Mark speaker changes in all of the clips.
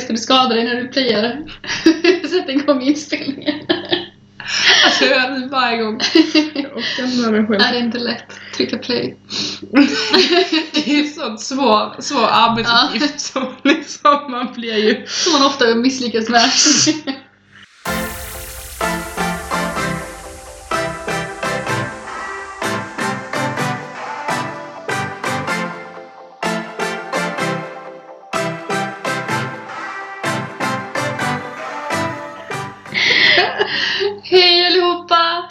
Speaker 1: Ska du skada dig när du playar? Sätt igång inspelningen.
Speaker 2: Alltså jag gör det varje gång. Jag orkar inte med mig själv.
Speaker 1: Nej, det är inte lätt. Trycka play.
Speaker 2: Det är en sån svår, svår arbetsuppgift som liksom man blir ju...
Speaker 1: Som man ofta misslyckas med. Hej allihopa!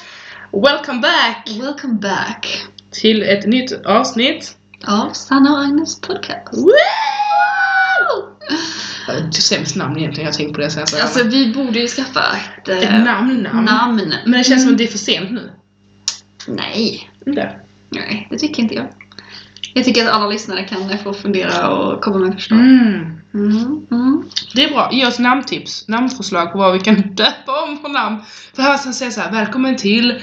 Speaker 2: Welcome back!
Speaker 1: Welcome back!
Speaker 2: Till ett nytt avsnitt.
Speaker 1: Av Sanna och Agnes podcast.
Speaker 2: Wow! Det är ett sämst namn egentligen, jag tänkte på det sen. så-
Speaker 1: Alltså vi borde ju skaffa ett, eh,
Speaker 2: ett namn, namn.
Speaker 1: namn.
Speaker 2: Men det känns som att det är för sent nu.
Speaker 1: Nej.
Speaker 2: Inte?
Speaker 1: Nej, det tycker inte jag. Jag tycker att alla lyssnare kan eh, få fundera och komma med förslag.
Speaker 2: Mm.
Speaker 1: Mm. Mm.
Speaker 2: Det är bra. Ge oss namntips, namnförslag på vad vi kan döpa om för namn. För här sen säger jag så här, välkommen till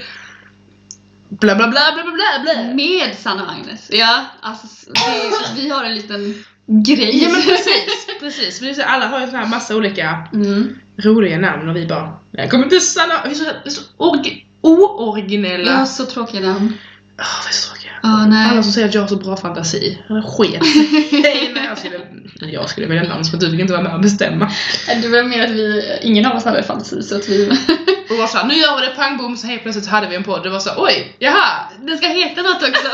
Speaker 2: bla bla bla bla bla bla bla.
Speaker 1: Med Sanna och Agnes. Ja, alltså det, vi har en liten grej.
Speaker 2: Ja men precis, precis. För det är så här, alla har ju såna här massa olika
Speaker 1: Mm.
Speaker 2: roliga namn och vi bara Välkommen till Sanna! Vi är så, vi är så orgi, ooriginella.
Speaker 1: Jag har så tråkiga namn.
Speaker 2: Åh, vad så tråkiga.
Speaker 1: Ja,
Speaker 2: Alla
Speaker 1: nej.
Speaker 2: som säger att jag har så bra fantasi. Jag Sket Nej, men jag skulle, jag skulle välja namn som att du fick inte vara med och bestämma.
Speaker 1: Det var mer att vi, ingen av oss hade fantasi så att vi...
Speaker 2: Och var såhär, nu gör vi det pang bom så helt plötsligt hade vi en podd. Det var så oj, jaha!
Speaker 1: Den ska heta något också.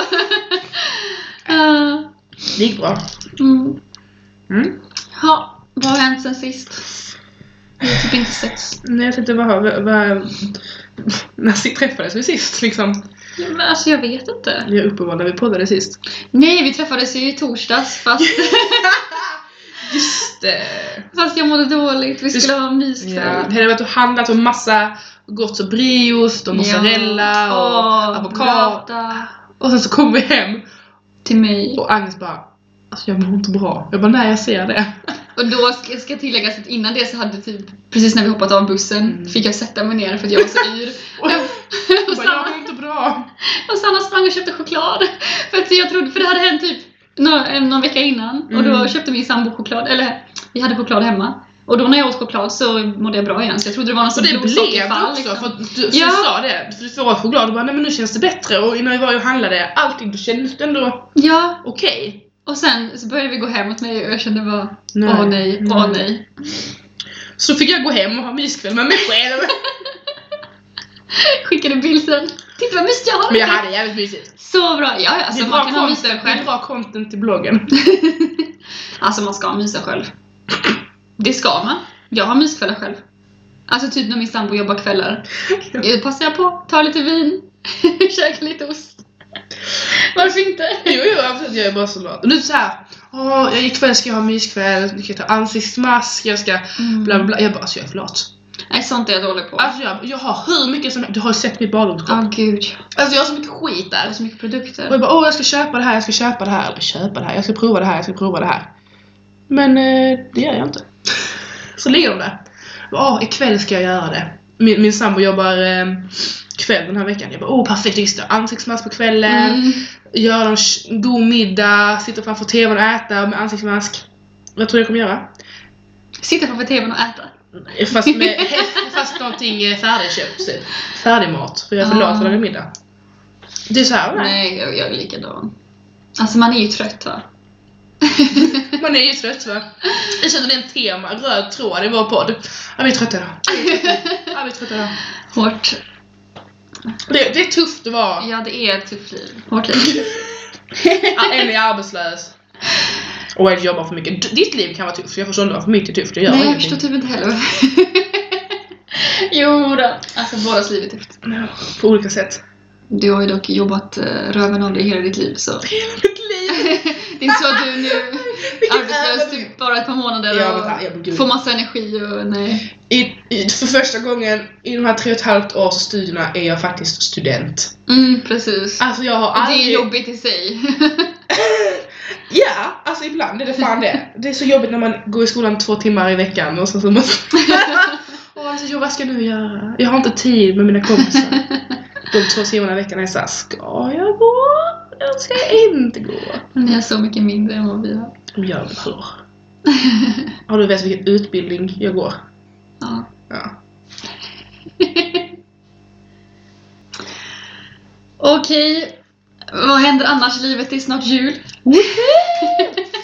Speaker 1: uh,
Speaker 2: Det gick bra.
Speaker 1: mm.
Speaker 2: Mm.
Speaker 1: Ja, vad har hänt sen sist? Vi har typ inte setts.
Speaker 2: Nej, jag tänkte bara, vad, vad, när träffades vi sist liksom?
Speaker 1: Ja, Men alltså jag vet inte.
Speaker 2: Vi har uppehåll när vi poddade sist.
Speaker 1: Nej, vi träffades ju i torsdags fast,
Speaker 2: Just det!
Speaker 1: fast jag mådde dåligt. Vi skulle ha en
Speaker 2: Ja.
Speaker 1: myskväll.
Speaker 2: Eh, Det hade varit och handlat om massa gott och brieost och mozzarella och
Speaker 1: Åh,
Speaker 2: avokado.
Speaker 1: blöta.
Speaker 2: Och sen så kom vi hem
Speaker 1: Till mig.
Speaker 2: och Agnes bara Alltså jag mår inte bra. Jag bara nej jag ser det.
Speaker 1: Och då ska, ska tilläggas att innan det så hade typ, precis när vi hoppat av bussen,
Speaker 2: Mm.
Speaker 1: fick jag sätta mig ner för att jag var så yr.
Speaker 2: Och
Speaker 1: och,
Speaker 2: jag bara, jag
Speaker 1: Sanna,
Speaker 2: mår inte bra.
Speaker 1: och Sanna sprang och köpte choklad. För att jag trodde, för det hade hänt typ någon, någon vecka innan. Och då
Speaker 2: Mm.
Speaker 1: köpte min sambo choklad, eller vi hade choklad hemma. Och då när jag åt choklad så mådde jag bra igen. Så jag trodde Alltså, det var någon
Speaker 2: Och
Speaker 1: sån
Speaker 2: det blev det
Speaker 1: blodsockerfall,
Speaker 2: också. För
Speaker 1: liksom.
Speaker 2: att du, för
Speaker 1: Ja.
Speaker 2: du sa det. För du var choklad och bara nej men nu känns det bättre. Och när vi var och handlade allting då kändes det ändå
Speaker 1: Ja,
Speaker 2: okej.
Speaker 1: och sen så började vi gå hemåt mig och jag kände bara
Speaker 2: Nej.
Speaker 1: åh nej, åh nej.
Speaker 2: Så fick jag gå hem och ha myskväll med mig själv.
Speaker 1: Skickade bild sen. Titta vad mysigt jag har!
Speaker 2: Men jag hade jävligt mysigt.
Speaker 1: Så bra! Ja, ja,
Speaker 2: Det
Speaker 1: alltså
Speaker 2: är bra
Speaker 1: man kan ha
Speaker 2: content,
Speaker 1: mysigt
Speaker 2: det är
Speaker 1: själv.
Speaker 2: bra content till bloggen.
Speaker 1: Alltså man ska mysa själv. Det ska man. Jag har myskvällar själv. Alltså typ när min sambo jobbar kvällar. Jag passar jag på, tar lite vin, käkar lite ost. Varför inte?
Speaker 2: Jo, jo, absolut. Jag är bara så lat. Och nu så här. Åh, jag ikväll ska jag ha myskväll, jag ska ta ansiktsmask, jag ska
Speaker 1: Mm.
Speaker 2: bla bla bla. Jag bara, alltså jag är för lat.
Speaker 1: Nej, sånt är jag dålig på.
Speaker 2: Alltså jag, jag har hur mycket som Du har ju sett mitt badrumsskåp.
Speaker 1: Åh gud,
Speaker 2: Alltså jag har så mycket skit
Speaker 1: jag har
Speaker 2: där.
Speaker 1: så mycket
Speaker 2: Och jag
Speaker 1: produkter.
Speaker 2: bara, åh jag ska köpa det här, jag ska köpa det här, eller köpa det här, jag ska prova det här, jag ska prova det här. Men eh, det gör jag inte. Så ligger de där. Jag bara, Åh, ikväll ska jag göra det. Min, min sambo jobbar eh, kväll den här veckan. Jag bara, åh perfekt, jag ska ta ansiktsmask på kvällen.
Speaker 1: Mm.
Speaker 2: göra en sh- god middag, sitta framför tvn och äta med ansiktsmask. Vad tror jag kommer göra?
Speaker 1: Sitta framför tvn och äta.
Speaker 2: Fast, med, fast någonting eh, färdigköpt. typ. Färdigmat. För jag är för lat för att laga middag. Det är såhär, nej.
Speaker 1: Nej, jag, jag är likadan. Alltså man är ju trött va?
Speaker 2: man är ju trött va. Jag känner det är en tema, röd tråd i vår podd. Ja, vi är trötta idag. Ja, vi är trötta idag.
Speaker 1: Hårt.
Speaker 2: Det, det är tufft att vara.
Speaker 1: Ja, det är ett tufft liv. Hårt liv.
Speaker 2: Ja, En är arbetslös. Och en jobbar för mycket. D- Ditt liv kan vara tufft, jag förstår inte varför mitt är tufft. Jag gör
Speaker 1: Nej, jag
Speaker 2: ingenting.
Speaker 1: förstår typ inte heller. jo då. Alltså bådas liv är tufft.
Speaker 2: På olika sätt.
Speaker 1: Du har ju dock jobbat eh, röven av dig hela ditt liv så.
Speaker 2: Mitt liv!
Speaker 1: Det är inte så att du nu är arbetslös typ bara ett par månader
Speaker 2: Ja,
Speaker 1: och
Speaker 2: men fan, jag blir gud.
Speaker 1: får massa energi och nej.
Speaker 2: I, i, för första gången i de här tre och ett halvt års studierna är jag faktiskt student.
Speaker 1: Mm, precis.
Speaker 2: Alltså jag har
Speaker 1: Och det är
Speaker 2: aldrig...
Speaker 1: jobbigt i sig.
Speaker 2: Ja, alltså ibland är det fan det. Det är så jobbigt när man går i skolan två timmar i veckan och sen så måste... Åh, alltså, jag, vad ska jag nu göra? Jag har inte tid med mina kompisar. De två timmarna i veckan är jag såhär, ska jag gå? Eller ska jag inte gå?
Speaker 1: Ni har så mycket mindre än vad vi har.
Speaker 2: som gör mitt hår. Ja, du vet vilken utbildning jag går.
Speaker 1: Ja.
Speaker 2: Ja.
Speaker 1: Okej, vad händer annars i livet? Det är snart jul.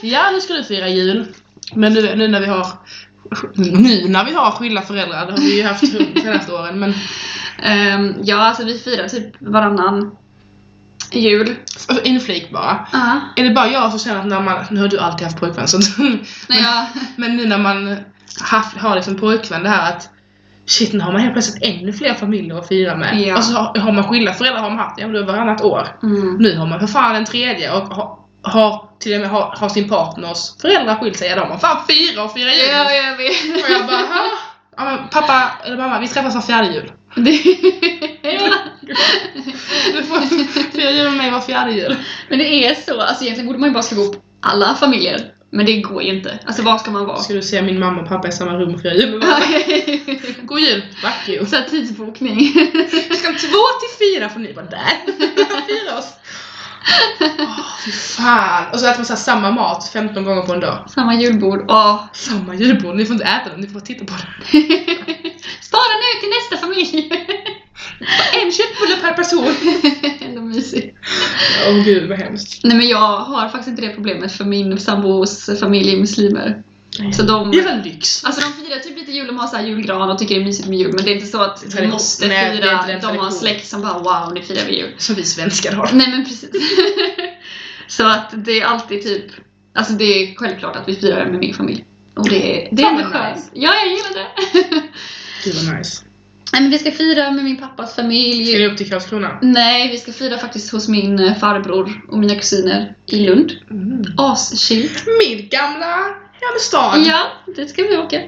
Speaker 2: Ja, nu ska du fira jul. Men nu, nu när vi har nu när vi har skilda föräldrar, det har vi ju haft de senaste åren, men
Speaker 1: Ehm, ja, alltså vi firar typ varannan jul.
Speaker 2: alltså, inflik bara.
Speaker 1: Ja.
Speaker 2: Är det bara jag som känner att när man, nu har du alltid haft pojkvän så
Speaker 1: När jag,
Speaker 2: Men nu när man haft, har liksom pojkvän det här att Shit, nu har man helt plötsligt ännu fler familjer att fira med.
Speaker 1: Ja.
Speaker 2: Och så har, har man skilda föräldrar har man haft, ja men då varannat år.
Speaker 1: mm.
Speaker 2: Nu har man för fan en tredje och har, har till och med har, har sin partners föräldrar skilt sig, ja då har man fan fyra och firar jul.
Speaker 1: Ja, jag vet.
Speaker 2: Och jag bara, "Ha?" ja, men pappa eller mamma, vi träffas var fjärde jul.
Speaker 1: Det-
Speaker 2: Du får fira jul med mig var fjärde jul.
Speaker 1: Men det är så, alltså egentligen borde man ju bara slå ihop alla familjer. Men det går ju inte. Alltså var ska man vara?
Speaker 2: Ska du se min mamma och pappa i samma rum och fira jul med varandra? God jul! Fuck you!
Speaker 1: Så här tidsbokning.
Speaker 2: Klockan två till fyra får ni vara där. Fira oss! Åh, fy fan! Och så äter man så här samma mat 15 gånger på en dag.
Speaker 1: Samma julbord. Åh.
Speaker 2: Samma julbord, ni får inte äta den, ni får bara titta på den.
Speaker 1: Spara nu till nästa familj.
Speaker 2: En köttbulle per person!
Speaker 1: Ändå mysigt.
Speaker 2: Åh gud vad hemskt.
Speaker 1: Nej men jag har faktiskt inte det problemet för min sambos familj är muslimer. Så
Speaker 2: Det
Speaker 1: de,
Speaker 2: är väl lyx?
Speaker 1: alltså de firar typ lite jul, de har så här julgran och tycker det är mysigt med jul men det är inte så att vi
Speaker 2: Tradition.
Speaker 1: måste
Speaker 2: Nej, det är
Speaker 1: fira,
Speaker 2: inte den
Speaker 1: de har en
Speaker 2: tradition.
Speaker 1: släkt som bara wow nu firar vi jul.
Speaker 2: Som vi svenskar har.
Speaker 1: Nej men precis. så att det är alltid typ, alltså det är självklart att vi firar med min familj. Och det, det är
Speaker 2: Fan,
Speaker 1: ändå
Speaker 2: vad
Speaker 1: skönt.
Speaker 2: nice.
Speaker 1: Ja, jag gillar det.
Speaker 2: Gud vad nice.
Speaker 1: Nej men vi ska fira med min pappas familj.
Speaker 2: Ska ni upp till Karlskrona?
Speaker 1: Nej, vi ska fira faktiskt hos min eh, farbror och mina kusiner i Lund.
Speaker 2: Mm.
Speaker 1: Aschill.
Speaker 2: Min gamla hemstad!
Speaker 1: Ja, det ska vi åka.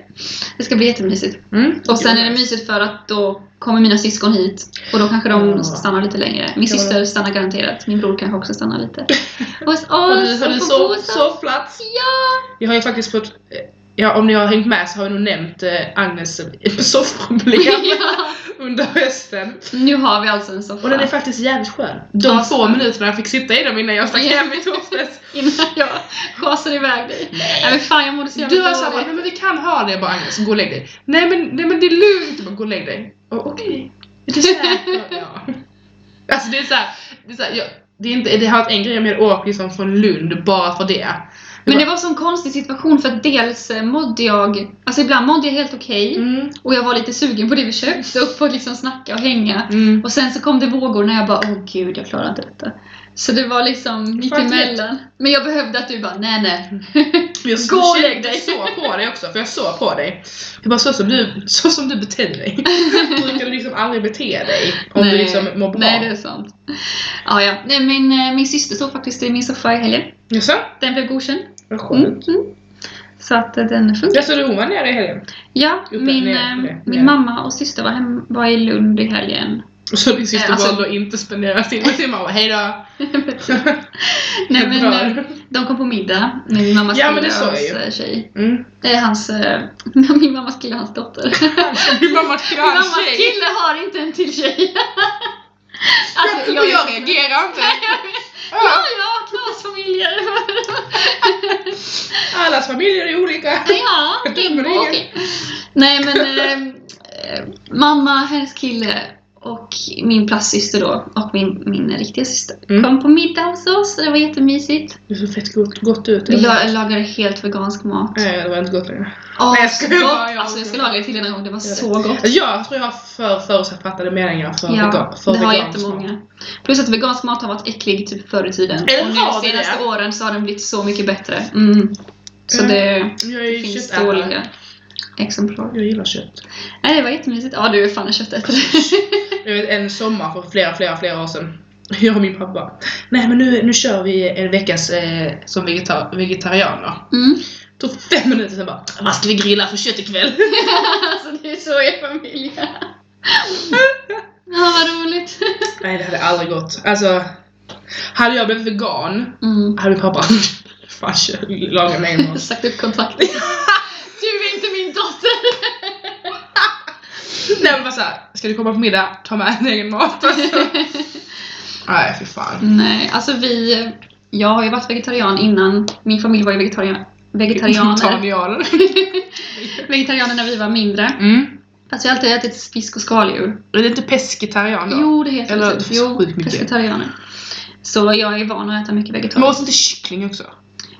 Speaker 1: Det ska bli jättemysigt.
Speaker 2: Mm.
Speaker 1: Och sen är det mysigt för att då kommer mina syskon hit och då kanske de
Speaker 2: Ja.
Speaker 1: stannar lite längre. Min
Speaker 2: Ja.
Speaker 1: syster stannar garanterat. Min bror kanske också stannar lite. Hos oss!
Speaker 2: Har du, har
Speaker 1: och
Speaker 2: du
Speaker 1: på
Speaker 2: sov,
Speaker 1: Bosan.
Speaker 2: sovplats?
Speaker 1: Ja!
Speaker 2: Jag har ju faktiskt fått... eh, Ja, om ni har hängt med så har jag nog nämnt eh, Agnes eh, sovproblem
Speaker 1: ja!
Speaker 2: under hösten.
Speaker 1: Nu har vi alltså en soffa.
Speaker 2: Och den är faktiskt jävligt skön. De
Speaker 1: Ja,
Speaker 2: få minuterna jag fick sitta i dem innan jag stack
Speaker 1: Ja.
Speaker 2: hem i torsdags.
Speaker 1: Innan jag schasar iväg dig. Nej men fan jag mådde så jävla
Speaker 2: Du var såhär bara,
Speaker 1: dåligt.
Speaker 2: nej men vi kan ha det. Jag bara Agnes, gå och lägg dig. Nej men, nej, men det är lugnt. Jag bara, gå och lägg dig. Och, Okej. Är du säker? Ja. Alltså det är såhär, det, är så här, jag, det, är inte, det har varit en grej med att åka liksom från Lund bara för det.
Speaker 1: Men det var en sån konstig situation för att dels eh, mådde jag, alltså ibland mådde jag helt okej
Speaker 2: Mm.
Speaker 1: och jag var lite sugen på det vi köpte och på att liksom snacka och hänga.
Speaker 2: Mm.
Speaker 1: Och sen så kom det vågor när jag bara åh gud jag klarar inte detta. Så det var liksom mittemellan. Men jag behövde att du bara nej nej.
Speaker 2: Jag
Speaker 1: Gå och
Speaker 2: kände-
Speaker 1: lägg dig.
Speaker 2: Jag såg på dig också, för jag såg på dig. Jag bara, så som du, så som du beter dig. Du brukar liksom aldrig bete dig om du liksom mår bra.
Speaker 1: Nej det är sant. Ja ja. Nej, min, eh, min syster sov faktiskt i min soffa i helgen.
Speaker 2: Jaså?
Speaker 1: Den blev godkänd.
Speaker 2: Vad skönt.
Speaker 1: Mm, mm. Så att eh, den funkar.
Speaker 2: Jaså, du hon var nere i helgen?
Speaker 1: Ja,
Speaker 2: Uppe,
Speaker 1: min,
Speaker 2: ner,
Speaker 1: eh,
Speaker 2: ner, ner.
Speaker 1: min mamma och syster var, hem, var i Lund i helgen.
Speaker 2: Och så din syster
Speaker 1: Eh, alltså-
Speaker 2: valde att inte spendera sina timmar och hejdå!
Speaker 1: Nej men
Speaker 2: Bra.
Speaker 1: eh, de kom på middag med min mammas
Speaker 2: Ja,
Speaker 1: kille
Speaker 2: men det
Speaker 1: och
Speaker 2: sa jag
Speaker 1: hans
Speaker 2: ju.
Speaker 1: eh, tjej.
Speaker 2: Mm.
Speaker 1: Eh, hans, eh, min mammas kille och hans dotter.
Speaker 2: Min mamma skulle
Speaker 1: min
Speaker 2: ha en
Speaker 1: mammas
Speaker 2: tjej!
Speaker 1: kille har inte en till tjej. alltså,
Speaker 2: Och jag reagerar inte.
Speaker 1: Ja,
Speaker 2: Ja,
Speaker 1: ja, knasfamiljer.
Speaker 2: Allas familjer är olika.
Speaker 1: ja,
Speaker 2: Men det
Speaker 1: bimbo,
Speaker 2: är ingen-
Speaker 1: okej. Nej men eh, eh, mamma, hennes kille och min plastsyster då och min, min riktiga syster
Speaker 2: Mm.
Speaker 1: kom på middag hos oss och det var jättemysigt.
Speaker 2: Du såg fett gott, gott ut.
Speaker 1: Vi
Speaker 2: Nej,
Speaker 1: la- lagade helt vegansk mat.
Speaker 2: det var inte gott längre.
Speaker 1: Åh,
Speaker 2: Nej, Mm. jag
Speaker 1: så
Speaker 2: skojar
Speaker 1: gott!
Speaker 2: bara, jag
Speaker 1: alltså jag ska
Speaker 2: skojar.
Speaker 1: laga det till en gång, det var
Speaker 2: Gör det.
Speaker 1: så gott.
Speaker 2: Alltså, jag tror jag har för förutfattade meningar för,
Speaker 1: Ja,
Speaker 2: vega- för
Speaker 1: det har
Speaker 2: vegansk mat.
Speaker 1: jättemånga. Plus att vegansk mat har varit äcklig typ förr i tiden.
Speaker 2: Eller
Speaker 1: Och nu
Speaker 2: har
Speaker 1: de
Speaker 2: det
Speaker 1: senaste
Speaker 2: det?
Speaker 1: åren så har den blivit så mycket bättre. Mm. Så
Speaker 2: Mm.
Speaker 1: det,
Speaker 2: Jag är
Speaker 1: det
Speaker 2: ju
Speaker 1: finns
Speaker 2: köttätare.
Speaker 1: dåliga exemplar.
Speaker 2: Jag gillar kött.
Speaker 1: Nej, det var jättemysigt. Ja, du är fan en köttätare.
Speaker 2: Jag vet, en sommar för flera, flera, flera år sedan. Jag och min pappa. Nej men nu, nu kör vi en veckas eh, som vegetar vegetarianer.
Speaker 1: Mm.
Speaker 2: Tog fem minuter sen bara Vad ska vi grilla för kött ikväll?
Speaker 1: alltså det är så er familj Ja, vad roligt.
Speaker 2: Nej det hade aldrig gått. Alltså Hade jag blivit vegan
Speaker 1: Mm.
Speaker 2: hade min pappa Fan kö- laga mig en mat.
Speaker 1: Sagt upp kontraktet. Du är inte min dotter!
Speaker 2: Nej men bara såhär, ska du komma på middag? Ta med en egen mat alltså. Nej fy fan.
Speaker 1: Nej, alltså vi... Jag har ju varit vegetarian innan. Min familj var ju vegetarian, vegetarianer.
Speaker 2: Vegetarianer.
Speaker 1: vegetarianer när vi var mindre.
Speaker 2: Mm.
Speaker 1: Fast vi har alltid ätit fisk och skaldjur.
Speaker 2: Är det inte pesketarian då?
Speaker 1: Jo, det heter
Speaker 2: Eller,
Speaker 1: det.
Speaker 2: det
Speaker 1: Typ.
Speaker 2: finns
Speaker 1: Jo,
Speaker 2: sjukt mycket.
Speaker 1: pescetarianer. Så jag är van att äta mycket vegetariskt.
Speaker 2: Men åt inte kyckling också?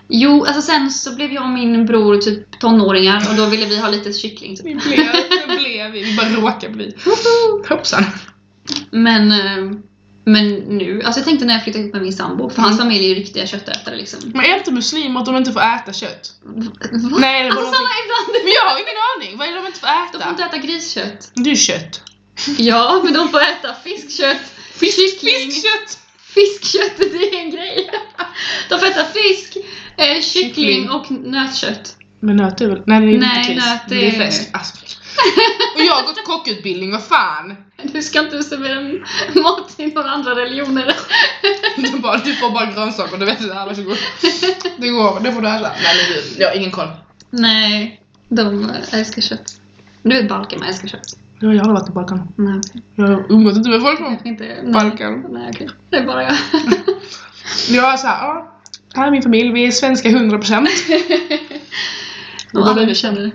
Speaker 1: Jo, alltså sen så blev jag och min bror typ tonåringar och då ville vi ha lite kyckling. Typ.
Speaker 2: Vi blev, det blev vi. Vi bara råkade bli. Hoppsan.
Speaker 1: Men, eh, men nu, alltså jag tänkte när jag flyttade ihop med min sambo, för
Speaker 2: Mm.
Speaker 1: hans familj är ju riktiga köttätare liksom.
Speaker 2: Men är inte muslimer att de inte får äta kött?
Speaker 1: Va?
Speaker 2: Nej, det var
Speaker 1: Alltså
Speaker 2: någonting.
Speaker 1: Sanna ibland!
Speaker 2: Men jag har ingen aning. Vad är det de inte får
Speaker 1: De får
Speaker 2: äta?
Speaker 1: inte äta griskött.
Speaker 2: Det är kött.
Speaker 1: Ja, men de får äta fiskkött, kyckling.
Speaker 2: Fiskkött!
Speaker 1: Fiskköttet är en grej. De får äta fisk, eh, kyckling
Speaker 2: Kyckling.
Speaker 1: och nötkött.
Speaker 2: Men nöt är väl... Nej, det är
Speaker 1: Nej,
Speaker 2: inte
Speaker 1: nöt
Speaker 2: nöt Det är
Speaker 1: är-
Speaker 2: fläsk. Alltså. Och jag har gått kockutbildning, vad fan!
Speaker 1: Du ska inte servera mat i några andra religioner.
Speaker 2: Du, bara, du får bara grönsaker, du vet det här, varsågod. Det går, det får du äta. Nej men gud, jag har ingen koll.
Speaker 1: Nej, de eh, älskar kött. Du vet Balkan älskar kött.
Speaker 2: Jag har aldrig varit i Balkan.
Speaker 1: Nej,
Speaker 2: Jag har umgåtts inte med folk från
Speaker 1: kanske inte.
Speaker 2: Balkan.
Speaker 1: Nej, nej okej. Det är bara jag.
Speaker 2: Jag är såhär, ja, här är min familj, vi är svenska 100%.
Speaker 1: Och alla vi känner det.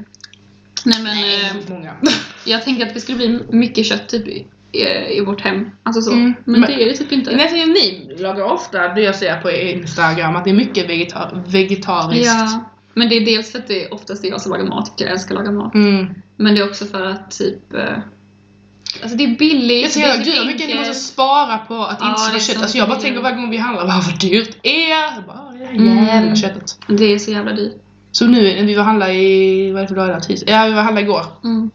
Speaker 1: Nej men, eh,
Speaker 2: Många.
Speaker 1: jag tänker att det skulle bli mycket kött typ i, i- i vårt hem. Alltså så.
Speaker 2: Mm,
Speaker 1: Men
Speaker 2: men-
Speaker 1: det är det typ inte.
Speaker 2: Nästan ni lagar ofta det jag ser på Instagram, att det är mycket vegeta- vegetariskt.
Speaker 1: Ja. Men det är dels för att det oftast är jag som lagar mat, för jag älskar att laga mat.
Speaker 2: Mm.
Speaker 1: Men det är också för att typ... eh, Alltså det är billigt.
Speaker 2: Jag
Speaker 1: det är
Speaker 2: tycker
Speaker 1: så
Speaker 2: att gud vad mycket ni
Speaker 1: enkelt.
Speaker 2: måste spara på att
Speaker 1: Ja,
Speaker 2: inte
Speaker 1: det är
Speaker 2: köpa kött.
Speaker 1: så
Speaker 2: Alltså jag bara
Speaker 1: dyrt.
Speaker 2: tänker varje gång vi handlar, "Vad, vad dyrt det är! Jag bara, "Ja, det här
Speaker 1: Mm.
Speaker 2: jävla köttet.
Speaker 1: Det är så jävla dyrt.
Speaker 2: Så nu när vi var och handlade i, vad är det för dag idag? Tisdag? Ja vi var och handlade igår.
Speaker 1: Mm.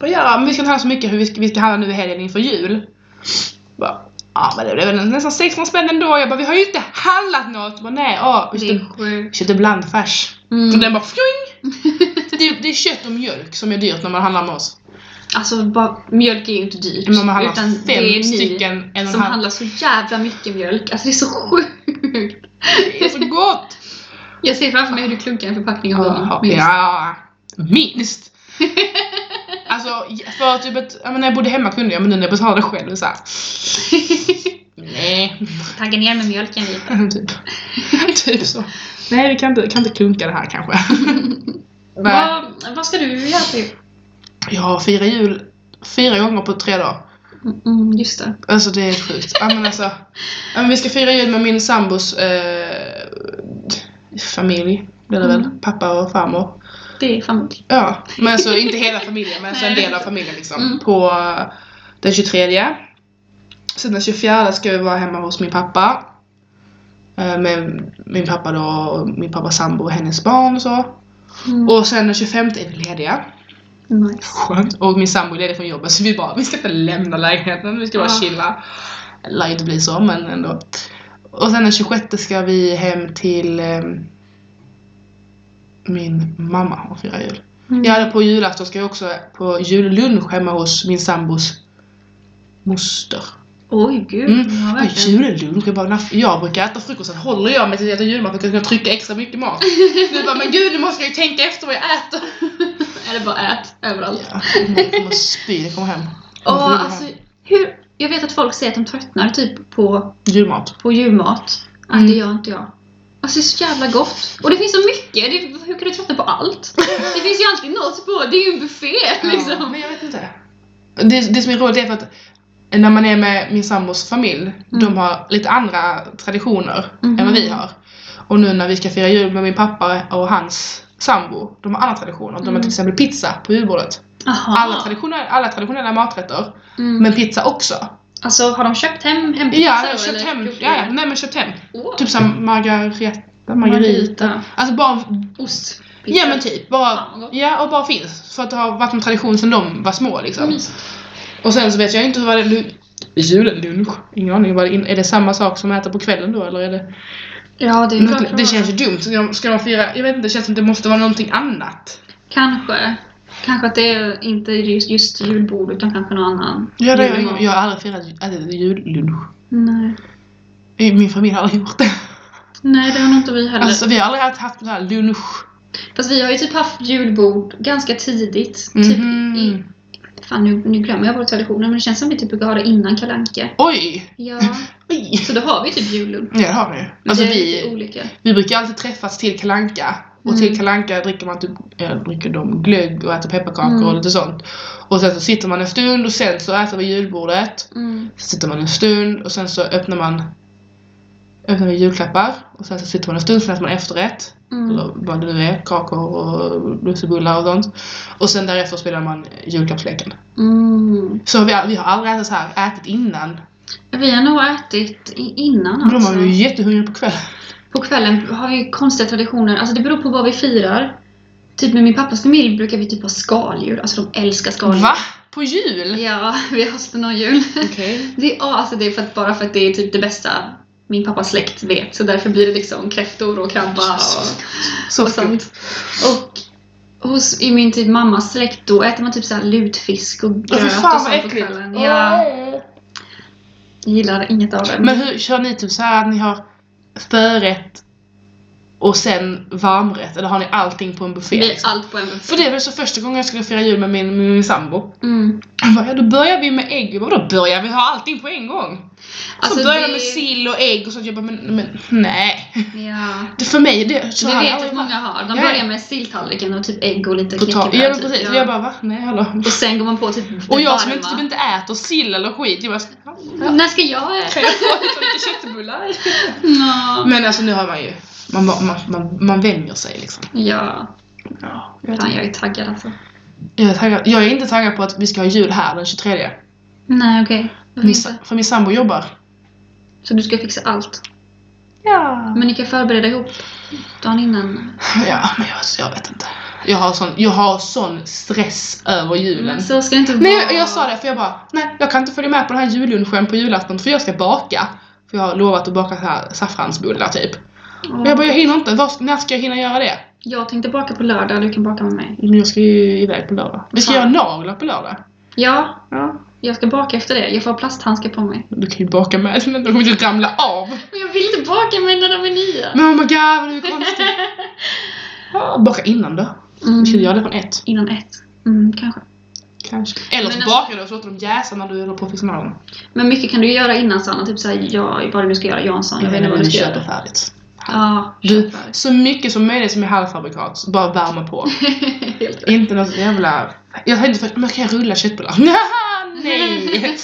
Speaker 2: Bara, ja men vi ska inte handla så mycket för vi ska, vi ska handla nu i helgen inför jul. Bara, ja men det blev väl nästan 600 spänn ändå. Jag bara, vi har ju inte handlat något. Bara, nej, ja. Vi
Speaker 1: Det är
Speaker 2: köpte-
Speaker 1: sjukt.
Speaker 2: köpte blandfärs. Och
Speaker 1: Mm.
Speaker 2: den bara fjoing! Det, det är kött och mjölk som är dyrt när man handlar med oss.
Speaker 1: Alltså bara, mjölk är ju inte dyrt.
Speaker 2: När man handlar
Speaker 1: utan
Speaker 2: fem
Speaker 1: det är ni
Speaker 2: stycken, en och
Speaker 1: som
Speaker 2: en halv.
Speaker 1: handlar så jävla mycket mjölk. Alltså det är så sjukt.
Speaker 2: Det är så gott!
Speaker 1: Jag ser framför mig hur du klunkar en förpackning av
Speaker 2: Ja,
Speaker 1: dem. minst.
Speaker 2: ja, minst! Alltså, för typ ett, ja, men när jag bodde hemma kunde jag, men nu när jag betalade själv så här. Nej.
Speaker 1: Tagga ner med mjölken lite.
Speaker 2: typ. typ så. Nej, vi kan inte, kan inte klunka det här kanske. Nej.
Speaker 1: Vad, vad ska du göra till?
Speaker 2: Jag firar jul fyra gånger på tre dagar.
Speaker 1: Mm, just det.
Speaker 2: Alltså det är sjukt. Ja, men alltså, ja, men vi ska fira jul med min sambos eh, familj. Blir det väl.
Speaker 1: Mm.
Speaker 2: Pappa och farmor.
Speaker 1: Det är familj.
Speaker 2: Ja, men alltså inte hela familjen men alltså en
Speaker 1: Nej.
Speaker 2: del av familjen liksom.
Speaker 1: Mm.
Speaker 2: På eh, den 23. Sen den 24 ska vi vara hemma hos min pappa. Eh, Med min pappa då, och min pappas sambo och hennes barn och så.
Speaker 1: Mm.
Speaker 2: Och sen den 25 är vi lediga.
Speaker 1: Nice.
Speaker 2: Skönt. Och min sambo är ledig från jobbet så vi bara, vi ska inte lämna lägenheten, vi ska bara
Speaker 1: Ja.
Speaker 2: chilla. Det lär ju inte bli så men ändå. Och sen den 26 ska vi hem till ehm, min mamma och fira jul.
Speaker 1: Mm.
Speaker 2: Jag hade på julafton ska jag också på jullunch hemma hos min sambos moster.
Speaker 1: Oj, gud.
Speaker 2: Mm.
Speaker 1: Ja,
Speaker 2: Ja,
Speaker 1: verkligen.
Speaker 2: jullunch, jag, bara, naff- jag brukar äta frukost, sen håller jag mig till att äta julmat för att kunna trycka extra mycket mat. Nu bara, men gud nu måste jag ju tänka efter vad jag äter.
Speaker 1: Eller bara ät överallt.
Speaker 2: Ja, jag kommer spy när jag kommer hem.
Speaker 1: Ja,
Speaker 2: Jag kommer rulla
Speaker 1: alltså, hur, jag vet att folk säger att de tröttnar typ på,
Speaker 2: Julmat.
Speaker 1: på julmat. Att
Speaker 2: Mm.
Speaker 1: det gör inte jag. Alltså det är så jävla gott. Och det finns så mycket. Det, hur kan du tröttna på allt? Det finns ju alltid något på. Det är ju en buffé liksom.
Speaker 2: Men jag vet inte. Det, det som är roligt är för att när man är med min sambos familj, de har lite andra traditioner
Speaker 1: Mhm.
Speaker 2: än vad vi har. Och nu när vi ska fira jul med min pappa och hans sambo, de har andra traditioner. De har
Speaker 1: Mm.
Speaker 2: till exempel pizza på julbordet.
Speaker 1: Aha.
Speaker 2: Alla, traditioner, alla traditionella maträtter,
Speaker 1: Mm.
Speaker 2: men pizza också.
Speaker 1: Alltså har de köpt hem hempizza
Speaker 2: Ja,
Speaker 1: då,
Speaker 2: jag har köpt
Speaker 1: eller
Speaker 2: hem.
Speaker 1: gjort
Speaker 2: Ja, Typ ja,
Speaker 1: det?
Speaker 2: nej men köpt hem.
Speaker 1: Åh,
Speaker 2: Typ som margareta, margarita.
Speaker 1: Margarita.
Speaker 2: Alltså bara,
Speaker 1: Ost.
Speaker 2: ja men typ. Bara,
Speaker 1: Fan, vad gott.
Speaker 2: ja, och bara finns. För att det har varit en tradition sedan de var små liksom.
Speaker 1: Mysigt.
Speaker 2: Och sen så vet jag inte vad det är Jullunch? Ingen aning. Vad det in, är det samma sak som att äta på kvällen då eller är det...
Speaker 1: Ja, det är klart.
Speaker 2: Det, det känns ju dumt. Ska de- Ska man fira... Jag vet inte, det känns som det måste vara någonting annat.
Speaker 1: Kanske. Kanske att det är inte just, just julbord utan kanske någon annan.
Speaker 2: Ja, det,
Speaker 1: julmat.
Speaker 2: jag, jag har aldrig firat ätit jullunch.
Speaker 1: Nej.
Speaker 2: I Min familj har aldrig gjort det.
Speaker 1: Nej, det har nog inte vi heller.
Speaker 2: Alltså vi har aldrig haft, haft den här lunch.
Speaker 1: Fast vi har ju typ haft julbord ganska tidigt. Typ
Speaker 2: Mhm.
Speaker 1: i Fan, nu, nu glömmer jag våra traditioner, men det känns som vi typ brukar ha det innan Kalle Anka.
Speaker 2: Oj!
Speaker 1: Ja.
Speaker 2: Oj!
Speaker 1: Så då har vi typ jullunch.
Speaker 2: Ja, det har ni ju.
Speaker 1: Men
Speaker 2: Alltså
Speaker 1: det är lite
Speaker 2: vi,
Speaker 1: olika.
Speaker 2: vi brukar alltid träffas till kalanka Och
Speaker 1: Mm.
Speaker 2: till kalanka dricker man typ, ja, dricker de glögg och äter pepparkakor
Speaker 1: Mm.
Speaker 2: och lite sånt. Och sen så sitter man en stund och sen så äter vi julbordet.
Speaker 1: Mm.
Speaker 2: Så sitter man en stund och sen så öppnar man öppnar vi julklappar. Och sen så sitter man en stund, sen äter man efterrätt.
Speaker 1: Mm.
Speaker 2: Eller vad det nu är, kakor och lussebullar och sånt. Och sen därefter spelar man julklappsleken.
Speaker 1: Mm.
Speaker 2: Så vi, har- vi har aldrig ätit så här, ätit innan.
Speaker 1: Vi har nog ätit i- innan
Speaker 2: Men då
Speaker 1: alltså.
Speaker 2: var vi ju jättehungriga på kvällen.
Speaker 1: På kvällen har vi konstiga traditioner. Alltså det beror på vad vi firar. Typ med min pappas familj brukar vi typ ha skaldjur. Alltså de älskar skaldjur.
Speaker 2: Va? På jul?
Speaker 1: Ja, vi har någon jul.
Speaker 2: Okej.
Speaker 1: Det, ja, alltså det är för att, bara för att det är typ det bästa min pappas släkt vet. Så därför blir det liksom kräftor och krabba och, Alltså.
Speaker 2: Så
Speaker 1: och
Speaker 2: sant.
Speaker 1: sånt. Och hos, i min typ mammas släkt då äter man typ så här lutfisk och
Speaker 2: Ja,
Speaker 1: gröt
Speaker 2: för
Speaker 1: och
Speaker 2: fan vad
Speaker 1: sånt på
Speaker 2: äckligt.
Speaker 1: kvällen. Ja, gillar inget av det.
Speaker 2: Men hur kör ni typ så här att ni har förrätt och sen varmrätt? Eller har ni allting på en buffé?
Speaker 1: det blir
Speaker 2: liksom?
Speaker 1: allt på en buffé.
Speaker 2: För det var så första gången jag skulle fira jul med min, med min sambo.
Speaker 1: Mm.
Speaker 2: Han bara, ja då börjar vi med ägg. Jag bara, då börjar vi ha allting på en gång?
Speaker 1: Alltså,
Speaker 2: så börjar
Speaker 1: det-
Speaker 2: de med sill och ägg och sånt. Jag bara, men, men nej.
Speaker 1: Ja.
Speaker 2: Det för mig, det... Så
Speaker 1: Det
Speaker 2: hade jag
Speaker 1: vet
Speaker 2: aldrig
Speaker 1: att många har. De
Speaker 2: Ja.
Speaker 1: börjar med silltallriken och typ ägg och lite
Speaker 2: varit på tal.
Speaker 1: knäckebröd.
Speaker 2: Ja men
Speaker 1: typ.
Speaker 2: precis.
Speaker 1: Ja.
Speaker 2: Och jag bara, va? Nej hallå.
Speaker 1: Och sen går man på typ det
Speaker 2: Och jag som
Speaker 1: varma.
Speaker 2: inte, typ inte äter sill eller skit. Jag bara, ja.
Speaker 1: När ska jag äta?
Speaker 2: Kan jag få lite köttbullar?
Speaker 1: Nå.
Speaker 2: Men alltså nu har man ju, man, man, man, man vänjer sig liksom.
Speaker 1: Ja,
Speaker 2: Ja, jag, vet
Speaker 1: fan
Speaker 2: inte.
Speaker 1: jag är taggad alltså.
Speaker 2: jag, är taggad, jag är inte taggad på att vi ska ha jul här den 23.
Speaker 1: Nej okej.
Speaker 2: Min, sa- för min sambo jobbar.
Speaker 1: Så du ska fixa allt.
Speaker 2: Ja.
Speaker 1: Men ni kan förbereda ihop dagen innan.
Speaker 2: Ja, men jag, så jag vet inte. Jag har, sån, jag har sån stress över julen.
Speaker 1: Men så ska det inte vara.
Speaker 2: Nej, jag, jag sa det för jag bara, nej jag kan inte följa med på den här jullunchen på julafton för jag ska baka. För jag har lovat att baka så här saffransbullar typ.
Speaker 1: Och
Speaker 2: Och jag bara, jag hinner inte. Var, när ska jag hinna göra det?
Speaker 1: jag tänkte baka på lördag, du kan baka med mig.
Speaker 2: Men jag ska ju iväg på lördag. Vi ska
Speaker 1: Fan.
Speaker 2: göra naglar på lördag.
Speaker 1: Ja,
Speaker 2: Ja.
Speaker 1: jag ska baka efter det. Jag får ha plasthandskar på mig.
Speaker 2: Du kan ju baka med den, de kommer inte ramla av.
Speaker 1: Men jag vill inte baka med när de är nya.
Speaker 2: Men oh my god, vad du är konstig. Ja, Baka innan då. Vi
Speaker 1: Mm.
Speaker 2: skulle göra det från ett.
Speaker 1: Innan ett. Mm, kanske.
Speaker 2: Kanske. Eller så
Speaker 1: Men
Speaker 2: bakar du och så låter de jäsa när du håller på och fixar naglarna.
Speaker 1: Men mycket kan du ju göra innan Sanna. Typ såhär, ja, vad du nu ska göra. Jansson, jag vet inte vad du ska
Speaker 2: köper
Speaker 1: göra.
Speaker 2: färdigt.
Speaker 1: Ja,
Speaker 2: Du,
Speaker 1: köpa.
Speaker 2: så mycket som möjligt som är halvfabrikat. så Bara värma på.
Speaker 1: Helt rätt.
Speaker 2: inte något jävla... Jag tänkte först, men kan jag rulla köttbullar? Nej!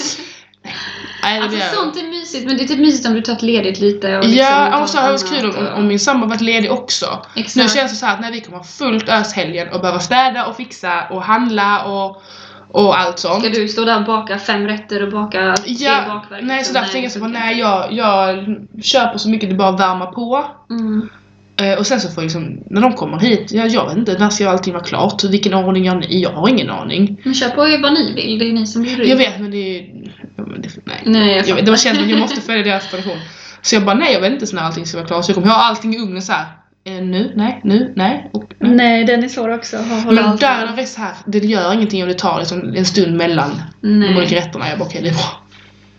Speaker 2: Nej, det blir...
Speaker 1: Alltså sånt liksom är mysigt, men det är typ mysigt om du tagit ledigt lite och
Speaker 2: Ja, och
Speaker 1: tar
Speaker 2: så hade det varit
Speaker 1: annat
Speaker 2: kul om,
Speaker 1: och-
Speaker 2: om min sambo varit ledig också. Nu
Speaker 1: Exakt.
Speaker 2: känns det så här att när vi kommer ha fullt ös helgen och behöva städa och fixa och handla och, och allt sånt.
Speaker 1: Ska du stå där och baka fem rätter och baka tre
Speaker 2: Ja,
Speaker 1: bakverk?
Speaker 2: nej så därför tänker jag så
Speaker 1: det
Speaker 2: på,
Speaker 1: funkar
Speaker 2: nej jag, jag köper så mycket det bara värma på.
Speaker 1: inte. Mm.
Speaker 2: Eh, och sen så får jag liksom, när de kommer hit, jag, jag vet inte, när ska allting vara klart? Vilken ordning gör ni? Jag har ingen aning.
Speaker 1: Men kör på vad ni vill, det är ni som blir
Speaker 2: Jag vet men det är... ja, men det- Nej.
Speaker 1: Nej, Mm, jag
Speaker 2: Jag, vet- det var känt att jag måste följa deras tradition. Så jag bara, nej jag vet inte så när allting ska vara klart. Så jag kommer ha allting i ugnen så här. Eh, nu, nej, nu, nej och nej.
Speaker 1: Nej, den är svår också. Hålla
Speaker 2: Men där är det så här, det gör ingenting om det tar liksom en stund mellan de olika
Speaker 1: Nej.
Speaker 2: rätterna. Jag bara okej, det är bra.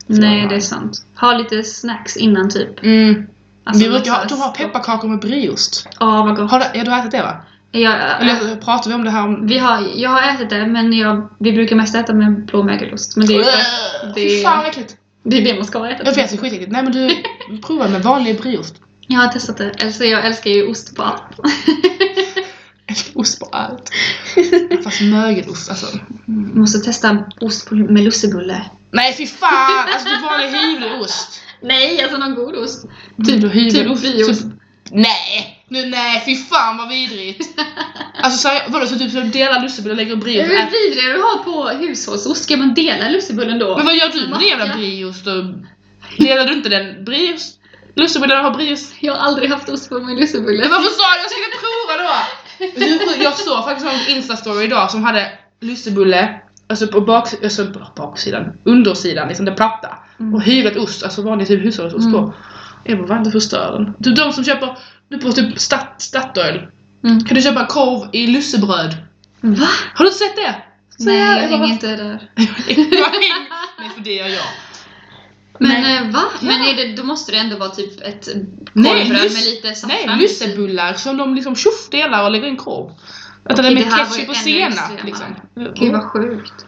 Speaker 1: nej, det är sant. Ha lite snacks innan typ.
Speaker 2: Mm.
Speaker 1: Alltså,
Speaker 2: vi brukar ha,
Speaker 1: något
Speaker 2: de
Speaker 1: så här-
Speaker 2: har pepparkakor med brieost.
Speaker 1: Ja, vad gott.
Speaker 2: Har du, ja, du har ätit det va?
Speaker 1: Jag,
Speaker 2: Eller pratar vi om det här om...
Speaker 1: vi har, jag har ätit det, men jag, vi brukar mest äta med blåmögelost. Men det är, ju för- det,
Speaker 2: Fy fan
Speaker 1: är,
Speaker 2: vad äckligt!
Speaker 1: det är det man ska äta.
Speaker 2: Jag vet, det är skitäckligt. Nej men du, prova med vanlig brieost.
Speaker 1: Jag har testat det. Alltså, jag älskar ju ost på allt.
Speaker 2: Ost på allt. Fast mögelost alltså.
Speaker 1: Jag måste testa ost på, med lussebulle.
Speaker 2: Nej fy fan! Alltså typ vanlig hyvleost.
Speaker 1: Nej, alltså någon god ost.
Speaker 2: Typ hyvleost.
Speaker 1: brieost.
Speaker 2: Typ- Nej! Nu, nej fy fan vad vidrigt! Alltså så här, vadå så typ så delar lussebullar och lägger brieost?
Speaker 1: Hur vidrig du har på hushållsost? Ska man dela lussebullen då?
Speaker 2: Men vad gör du med din jävla
Speaker 1: Macka.
Speaker 2: brieost och... Delar du inte den? Brieost? Lussebullarna har brieost.
Speaker 1: Jag har aldrig haft ost på min lussebulle.
Speaker 2: Men varför sa du jag skulle prova då? Hur- Jag såg faktiskt någon instastory idag som hade lussebulle Alltså på bak, alltså på baksidan, undersidan, liksom det platta.
Speaker 1: Mm.
Speaker 2: Och hyvlat ost, alltså vanlig typ hushållsost
Speaker 1: Mm.
Speaker 2: på. Jag bara, vad inte förstör den? Typ de som köper, nu på typ stat, Statoil.
Speaker 1: Mm.
Speaker 2: Kan du köpa korv i lussebröd?
Speaker 1: Va?
Speaker 2: Har du inte sett det? Så
Speaker 1: Nej,
Speaker 2: jävla-
Speaker 1: jag
Speaker 2: bara,
Speaker 1: hänger inte där.
Speaker 2: "Vad häng?" Nej för det gör jag.
Speaker 1: Men
Speaker 2: Nej.
Speaker 1: eh, va? Men
Speaker 2: Ja.
Speaker 1: är det, då måste det ändå vara typ ett
Speaker 2: Nej,
Speaker 1: korvbröd med
Speaker 2: lus-
Speaker 1: lite saffran.
Speaker 2: Nej, lussebullar som de liksom tjoff delar och lägger i en korv. Att det är
Speaker 1: Okej,
Speaker 2: med
Speaker 1: det här var ju
Speaker 2: ketchup och
Speaker 1: ännu
Speaker 2: senap
Speaker 1: extremare.
Speaker 2: liksom.
Speaker 1: Gud vad sjukt.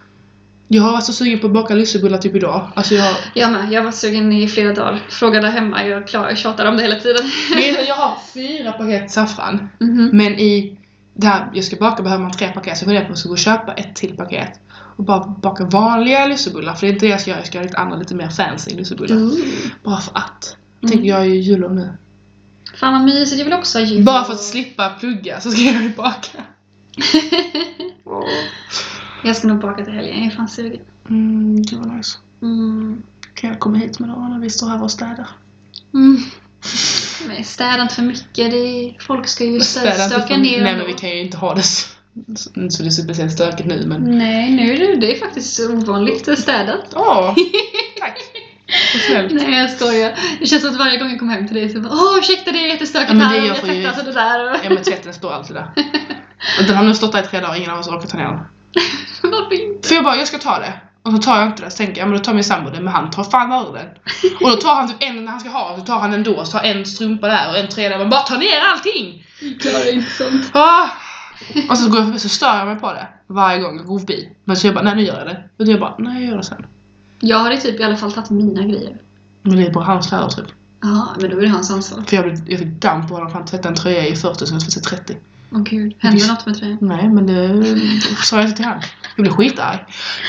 Speaker 2: Jag har varit så sugen på att baka lussebullar typ idag. Alltså jag har...
Speaker 1: Jag med, jag var sugen i flera dagar. Fråga där hemma, jag, klar, jag tjatar om det hela tiden.
Speaker 2: Jag har fyra paket saffran.
Speaker 1: Mhm.
Speaker 2: Men i det här jag ska baka behöver man tre paket. Så jag funderar på att jag ska gå och köpa ett till paket. Och bara baka vanliga lussebullar. För det är inte det jag ska göra. Jag ska göra lite andra, lite mer fancy lussebullar.
Speaker 1: Mm.
Speaker 2: Bara för att. Tänk, jag är ju jullov nu.
Speaker 1: Fan vad mysigt, jag vill också ha jul.
Speaker 2: Bara för att slippa plugga så ska jag ju baka.
Speaker 1: Mm. Jag ska nog baka till helgen, jag är fan sugen.
Speaker 2: Mm, det var nice.
Speaker 1: Mm.
Speaker 2: Kan jag komma hit med några när vi står här och städar?
Speaker 1: Mm. Men städa inte för mycket, det är, folk ska ju
Speaker 2: Städar inte
Speaker 1: stöka
Speaker 2: för-
Speaker 1: ner ändå.
Speaker 2: Nej men vi kan ju inte ha det så, så det ser speciellt stökigt nu men...
Speaker 1: Nej, nu är det, det är faktiskt ovanligt städat.
Speaker 2: Ja, tack. Vad snällt.
Speaker 1: Nej, jag skojar. Det känns som att varje gång jag kommer hem till dig så bara Åh, ursäkta det är jättestökigt
Speaker 2: Ja, men det
Speaker 1: här.
Speaker 2: jag
Speaker 1: Jag
Speaker 2: får ju-
Speaker 1: tänkte alltså det där.
Speaker 2: Ja men tvätten står alltid där. Och Den har nu stått där i tre dagar och ingen av oss har orkat ta ner den.
Speaker 1: Varför inte?
Speaker 2: För jag bara, jag ska ta det. Och så tar jag inte det. Så tänker jag, men då tar min sambo det. Men han tar fan över den. Och då tar han typ en när han ska ha den. Så tar han den då. Så tar en strumpa där och en tröja där. Man bara, ta ner allting!
Speaker 1: Klarar inte sånt.
Speaker 2: Ah! Och så, går jag, förbi, så stör jag mig på det. Varje gång jag går förbi. Men så jag bara, nej nu gör jag det. Och då jag bara, nej jag gör det sen.
Speaker 1: Jag hade typ i alla fall tagit mina grejer.
Speaker 2: Men det är bara hans kläder typ.
Speaker 1: Ja, men då är det hans ansvar.
Speaker 2: För jag, blev, jag fick damp på honom för han tvättade en tröja i 40 som jag tvättade i 30.
Speaker 1: Åh gud, hände
Speaker 2: Visst.
Speaker 1: något med tröjan?
Speaker 2: Nej men det sa jag inte till han. Jag blev skitarg.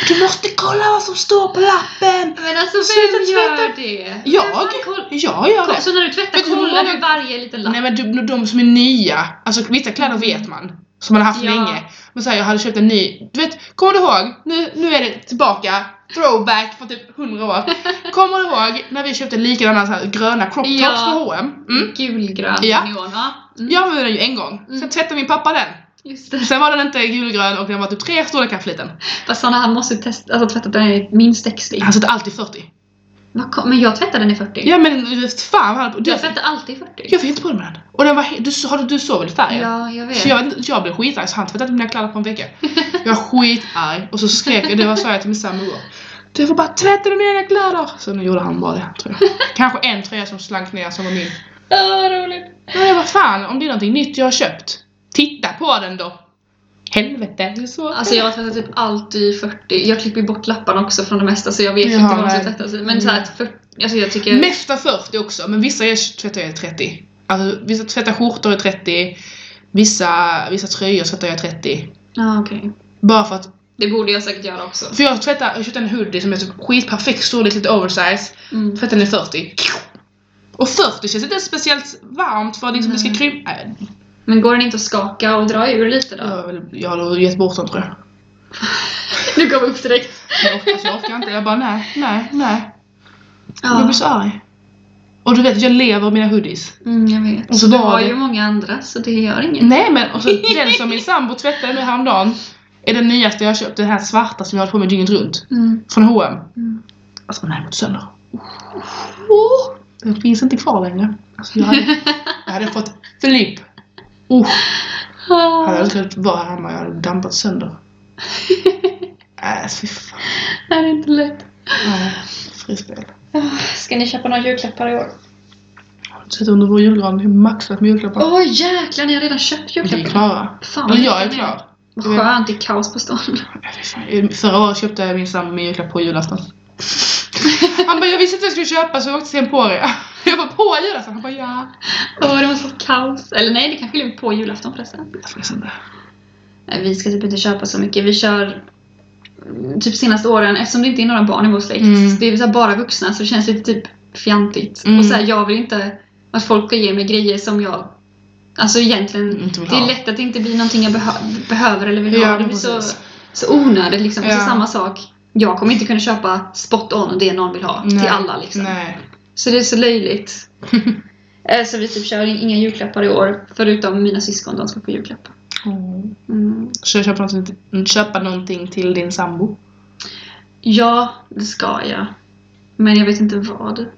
Speaker 2: Du måste kolla vad som står på lappen!
Speaker 1: Men alltså
Speaker 2: Sluta
Speaker 1: vem gör
Speaker 2: tvätta.
Speaker 1: det?
Speaker 2: Jag?
Speaker 1: Vem fan koll-
Speaker 2: Jag gör det!
Speaker 1: Så när du tvättar
Speaker 2: Vet du hur
Speaker 1: kollar
Speaker 2: många-
Speaker 1: du varje liten lapp?
Speaker 2: Nej men de, de som är nya, alltså vissa kläder vet man. Som man har haft
Speaker 1: Ja.
Speaker 2: länge. Men såhär jag hade köpt en ny, du vet, kommer du ihåg? Nu, nu är det tillbaka, throwback för typ 100 år. Kommer du ihåg när vi köpte likadana så här gröna crop tops
Speaker 1: Ja.
Speaker 2: på H&M? Mm.
Speaker 1: Gulgrön
Speaker 2: Ja.
Speaker 1: neon, ja. Mm,
Speaker 2: Jag använde den ju en gång,
Speaker 1: Mm.
Speaker 2: sen tvättade min pappa den.
Speaker 1: Just det.
Speaker 2: Sen var den inte gulgrön och den var typ tre storlekar för liten.
Speaker 1: Fast Sanna, han måste ju testa, alltså tvätta den i minst 60.
Speaker 2: Han sätter alltid 40.
Speaker 1: Vad kom- Men jag tvättar den i 40.
Speaker 2: Alltså- Ja men du vet, fan vad han...
Speaker 1: Jag
Speaker 2: Jag,
Speaker 1: tvättar alltid i 40.
Speaker 2: jag fick inte på mig den. Och den var he- du, har du, du såg väl färgen?
Speaker 1: Ja, jag vet.
Speaker 2: Så jag, jag blev skitarg så han tvättade mina kläder på en vecka. Jag var skitarg och så skrek jag, det var så jag till min sambo igår. Du får bara tvätta dina kläder! Så nu gjorde han bara det tror jag. Kanske en tröja som slank ner som var min.
Speaker 1: Ja, vad roligt.
Speaker 2: Men jag bara fan om det är någonting nytt jag har köpt. Titta på den då! Helvete det är så.
Speaker 1: Alltså jag tvättar typ alltid i 40. Jag klipper ju bort lapparna också från det mesta så jag vet ju
Speaker 2: Ja,
Speaker 1: inte vad de ska
Speaker 2: nej. Mm.
Speaker 1: tvättas i. Men såhär, 40, alltså jag tycker...
Speaker 2: Mesta 40 också men vissa jag tvättar jag i 30. Alltså vissa tvättar skjortor i 30. Vissa, vissa tröjor tvättar jag i 30.
Speaker 1: Ja, okej.
Speaker 2: Bara för att
Speaker 1: Det borde jag säkert göra också.
Speaker 2: För jag tvättar, jag köpte en hoodie som är typ skitperfekt storlek, lite oversize.
Speaker 1: Mm.
Speaker 2: Tvättar den i 40. Och 40 känns inte speciellt varmt för liksom det ska
Speaker 1: Nej.
Speaker 2: krympa. Nej,
Speaker 1: Men går den inte att skaka och dra ur lite då?
Speaker 2: Jag har väl- jag har nog gett bort den tror jag.
Speaker 1: Du gav upp direkt.
Speaker 2: Jag orkar, alltså, jag orkar inte. Jag bara nej, nej, nej. Jag
Speaker 1: Ja,
Speaker 2: blir så arg. Och du vet, jag lever av mina hoodies.
Speaker 1: mm, jag vet.
Speaker 2: Och så
Speaker 1: du
Speaker 2: var
Speaker 1: har
Speaker 2: det-
Speaker 1: ju många andra så det gör inget.
Speaker 2: Nej men, och så den som min sambo tvättade nu häromdagen är den nyaste jag har köpt. Den här svarta som jag har på mig dygnet runt.
Speaker 1: Mm.
Speaker 2: Från H&M
Speaker 1: Mm.
Speaker 2: Alltså den har jag gått sönder. Oh, den finns inte kvar längre. Alltså, jag, hade, jag hade fått flipp. Usch.
Speaker 1: Ah,
Speaker 2: Hade jag aldrig kunnat vara här hemma, jag hade dampat sönder. Äh, fy fan.
Speaker 1: Det här är inte lätt.
Speaker 2: Nej, Frispel.
Speaker 1: Ska ni köpa några julklappar i år?
Speaker 2: Har du sett under vår julgran hur maxat med julklappar?
Speaker 1: Åh jäklar, ni har redan köpt
Speaker 2: Vi är
Speaker 1: julklappar.
Speaker 2: klara.
Speaker 1: Fan
Speaker 2: Och
Speaker 1: vad
Speaker 2: jag är
Speaker 1: lyckad ni
Speaker 2: klar.
Speaker 1: Vad skönt, det är kaos på stan.
Speaker 2: Äh, fy fan. Förra året köpte jag min sambo min julklapp på julafton. Han bara, jag visste inte vad jag skulle köpa så jag åkte till Emporia. Jag bara, på julafton? Han bara, ja.
Speaker 1: Åh, det måste vara kaos. Eller nej, det kanske blir på julafton förresten.
Speaker 2: Jag får sen det.
Speaker 1: Nej, Vi ska typ inte köpa så mycket. Vi kör mm, typ senaste åren, eftersom det inte är några barn i vår släkt.
Speaker 2: Mm.
Speaker 1: så Det är så här bara vuxna så det känns lite typ fjantigt.
Speaker 2: Mm.
Speaker 1: Och så här, jag vill inte att folk ska ge mig grejer som jag Alltså egentligen,
Speaker 2: Mm, Inte vill
Speaker 1: det är
Speaker 2: ha.
Speaker 1: lätt att det inte blir någonting jag behö- behöver eller vill
Speaker 2: Ja,
Speaker 1: ha. Det
Speaker 2: men
Speaker 1: blir så,
Speaker 2: precis.
Speaker 1: så onödigt liksom. Och
Speaker 2: Ja.
Speaker 1: så samma sak, jag kommer inte kunna köpa spot on det någon vill ha till alla liksom.
Speaker 2: Nej.
Speaker 1: Så det är så löjligt. Eh, så vi typ kör inga julklappar i år, förutom mina syskon, de ska få julklappar. Mm.
Speaker 2: Ska jag köpa mm, någonting, köpa någonting till din sambo?
Speaker 1: Ja, det ska jag. Men jag vet inte vad.
Speaker 2: Det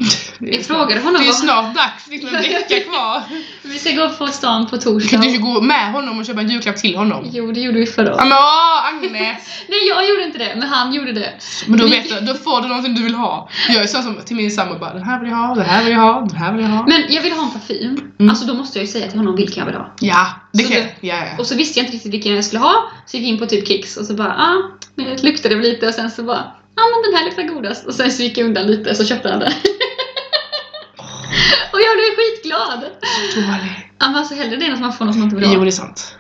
Speaker 1: Jag frågade honom
Speaker 2: Det är
Speaker 1: vad...
Speaker 2: snart dags, det är liksom en vecka kvar.
Speaker 1: Vi ska gå på stan på torsdag.
Speaker 2: Kan du inte gå med honom och köpa en julklapp till honom?
Speaker 1: Jo, det gjorde vi förra
Speaker 2: Ja
Speaker 1: året.
Speaker 2: men åh, Agnes!
Speaker 1: Nej, jag gjorde inte det, men han gjorde det.
Speaker 2: Men då
Speaker 1: Vi-
Speaker 2: vet du, då får du någonting du vill ha. Jag är sån som till min sambo bara, den här vill jag ha, den här vill jag ha, den här vill jag ha.
Speaker 1: Men jag ville ha en parfym.
Speaker 2: Mm.
Speaker 1: Alltså då måste jag ju säga till honom vilken jag vill ha.
Speaker 2: Ja, det
Speaker 1: Så
Speaker 2: kan jag.
Speaker 1: det-
Speaker 2: Ja, ja.
Speaker 1: Och så visste jag inte riktigt vilken jag skulle ha. Så gick jag in på typ Kicks och så bara ah, det luktade väl lite och sen så bara ja ah, men den här luktar godast. Och sen så gick jag undan lite så köpte han den. och jag blev skitglad!
Speaker 2: Dålig.
Speaker 1: Ja, men alltså hellre det än att man får något man inte vill ha.
Speaker 2: Jo, det är sant.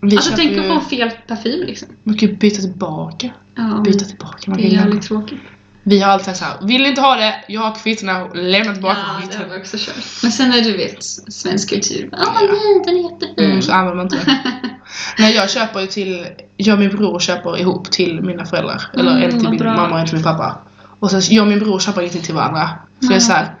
Speaker 2: Vi
Speaker 1: alltså
Speaker 2: köper
Speaker 1: tänk
Speaker 2: ju-
Speaker 1: att få fel parfym liksom.
Speaker 2: Man kan ju byta tillbaka.
Speaker 1: Ja,
Speaker 2: Byta tillbaka. Man
Speaker 1: det är
Speaker 2: kan göra.
Speaker 1: jävligt tråkigt.
Speaker 2: Vi har alltid såhär, vill inte ha det, jag har kvittona och lämnar
Speaker 1: Ja,
Speaker 2: tillbaka
Speaker 1: det har
Speaker 2: kvitton.
Speaker 1: vi också kört. Men sen är du vet, svensk kultur. Ah
Speaker 2: Ja.
Speaker 1: nej, den är jättefin.
Speaker 2: Mm, så använder man inte det. Nej, jag köper ju till, jag och min bror köper ihop till mina föräldrar. Eller
Speaker 1: Mm,
Speaker 2: en till
Speaker 1: vad
Speaker 2: min
Speaker 1: bra.
Speaker 2: mamma och en till min pappa. Och sen jag och min bror köper ingenting till varandra. Så det är
Speaker 1: Nej.
Speaker 2: såhär,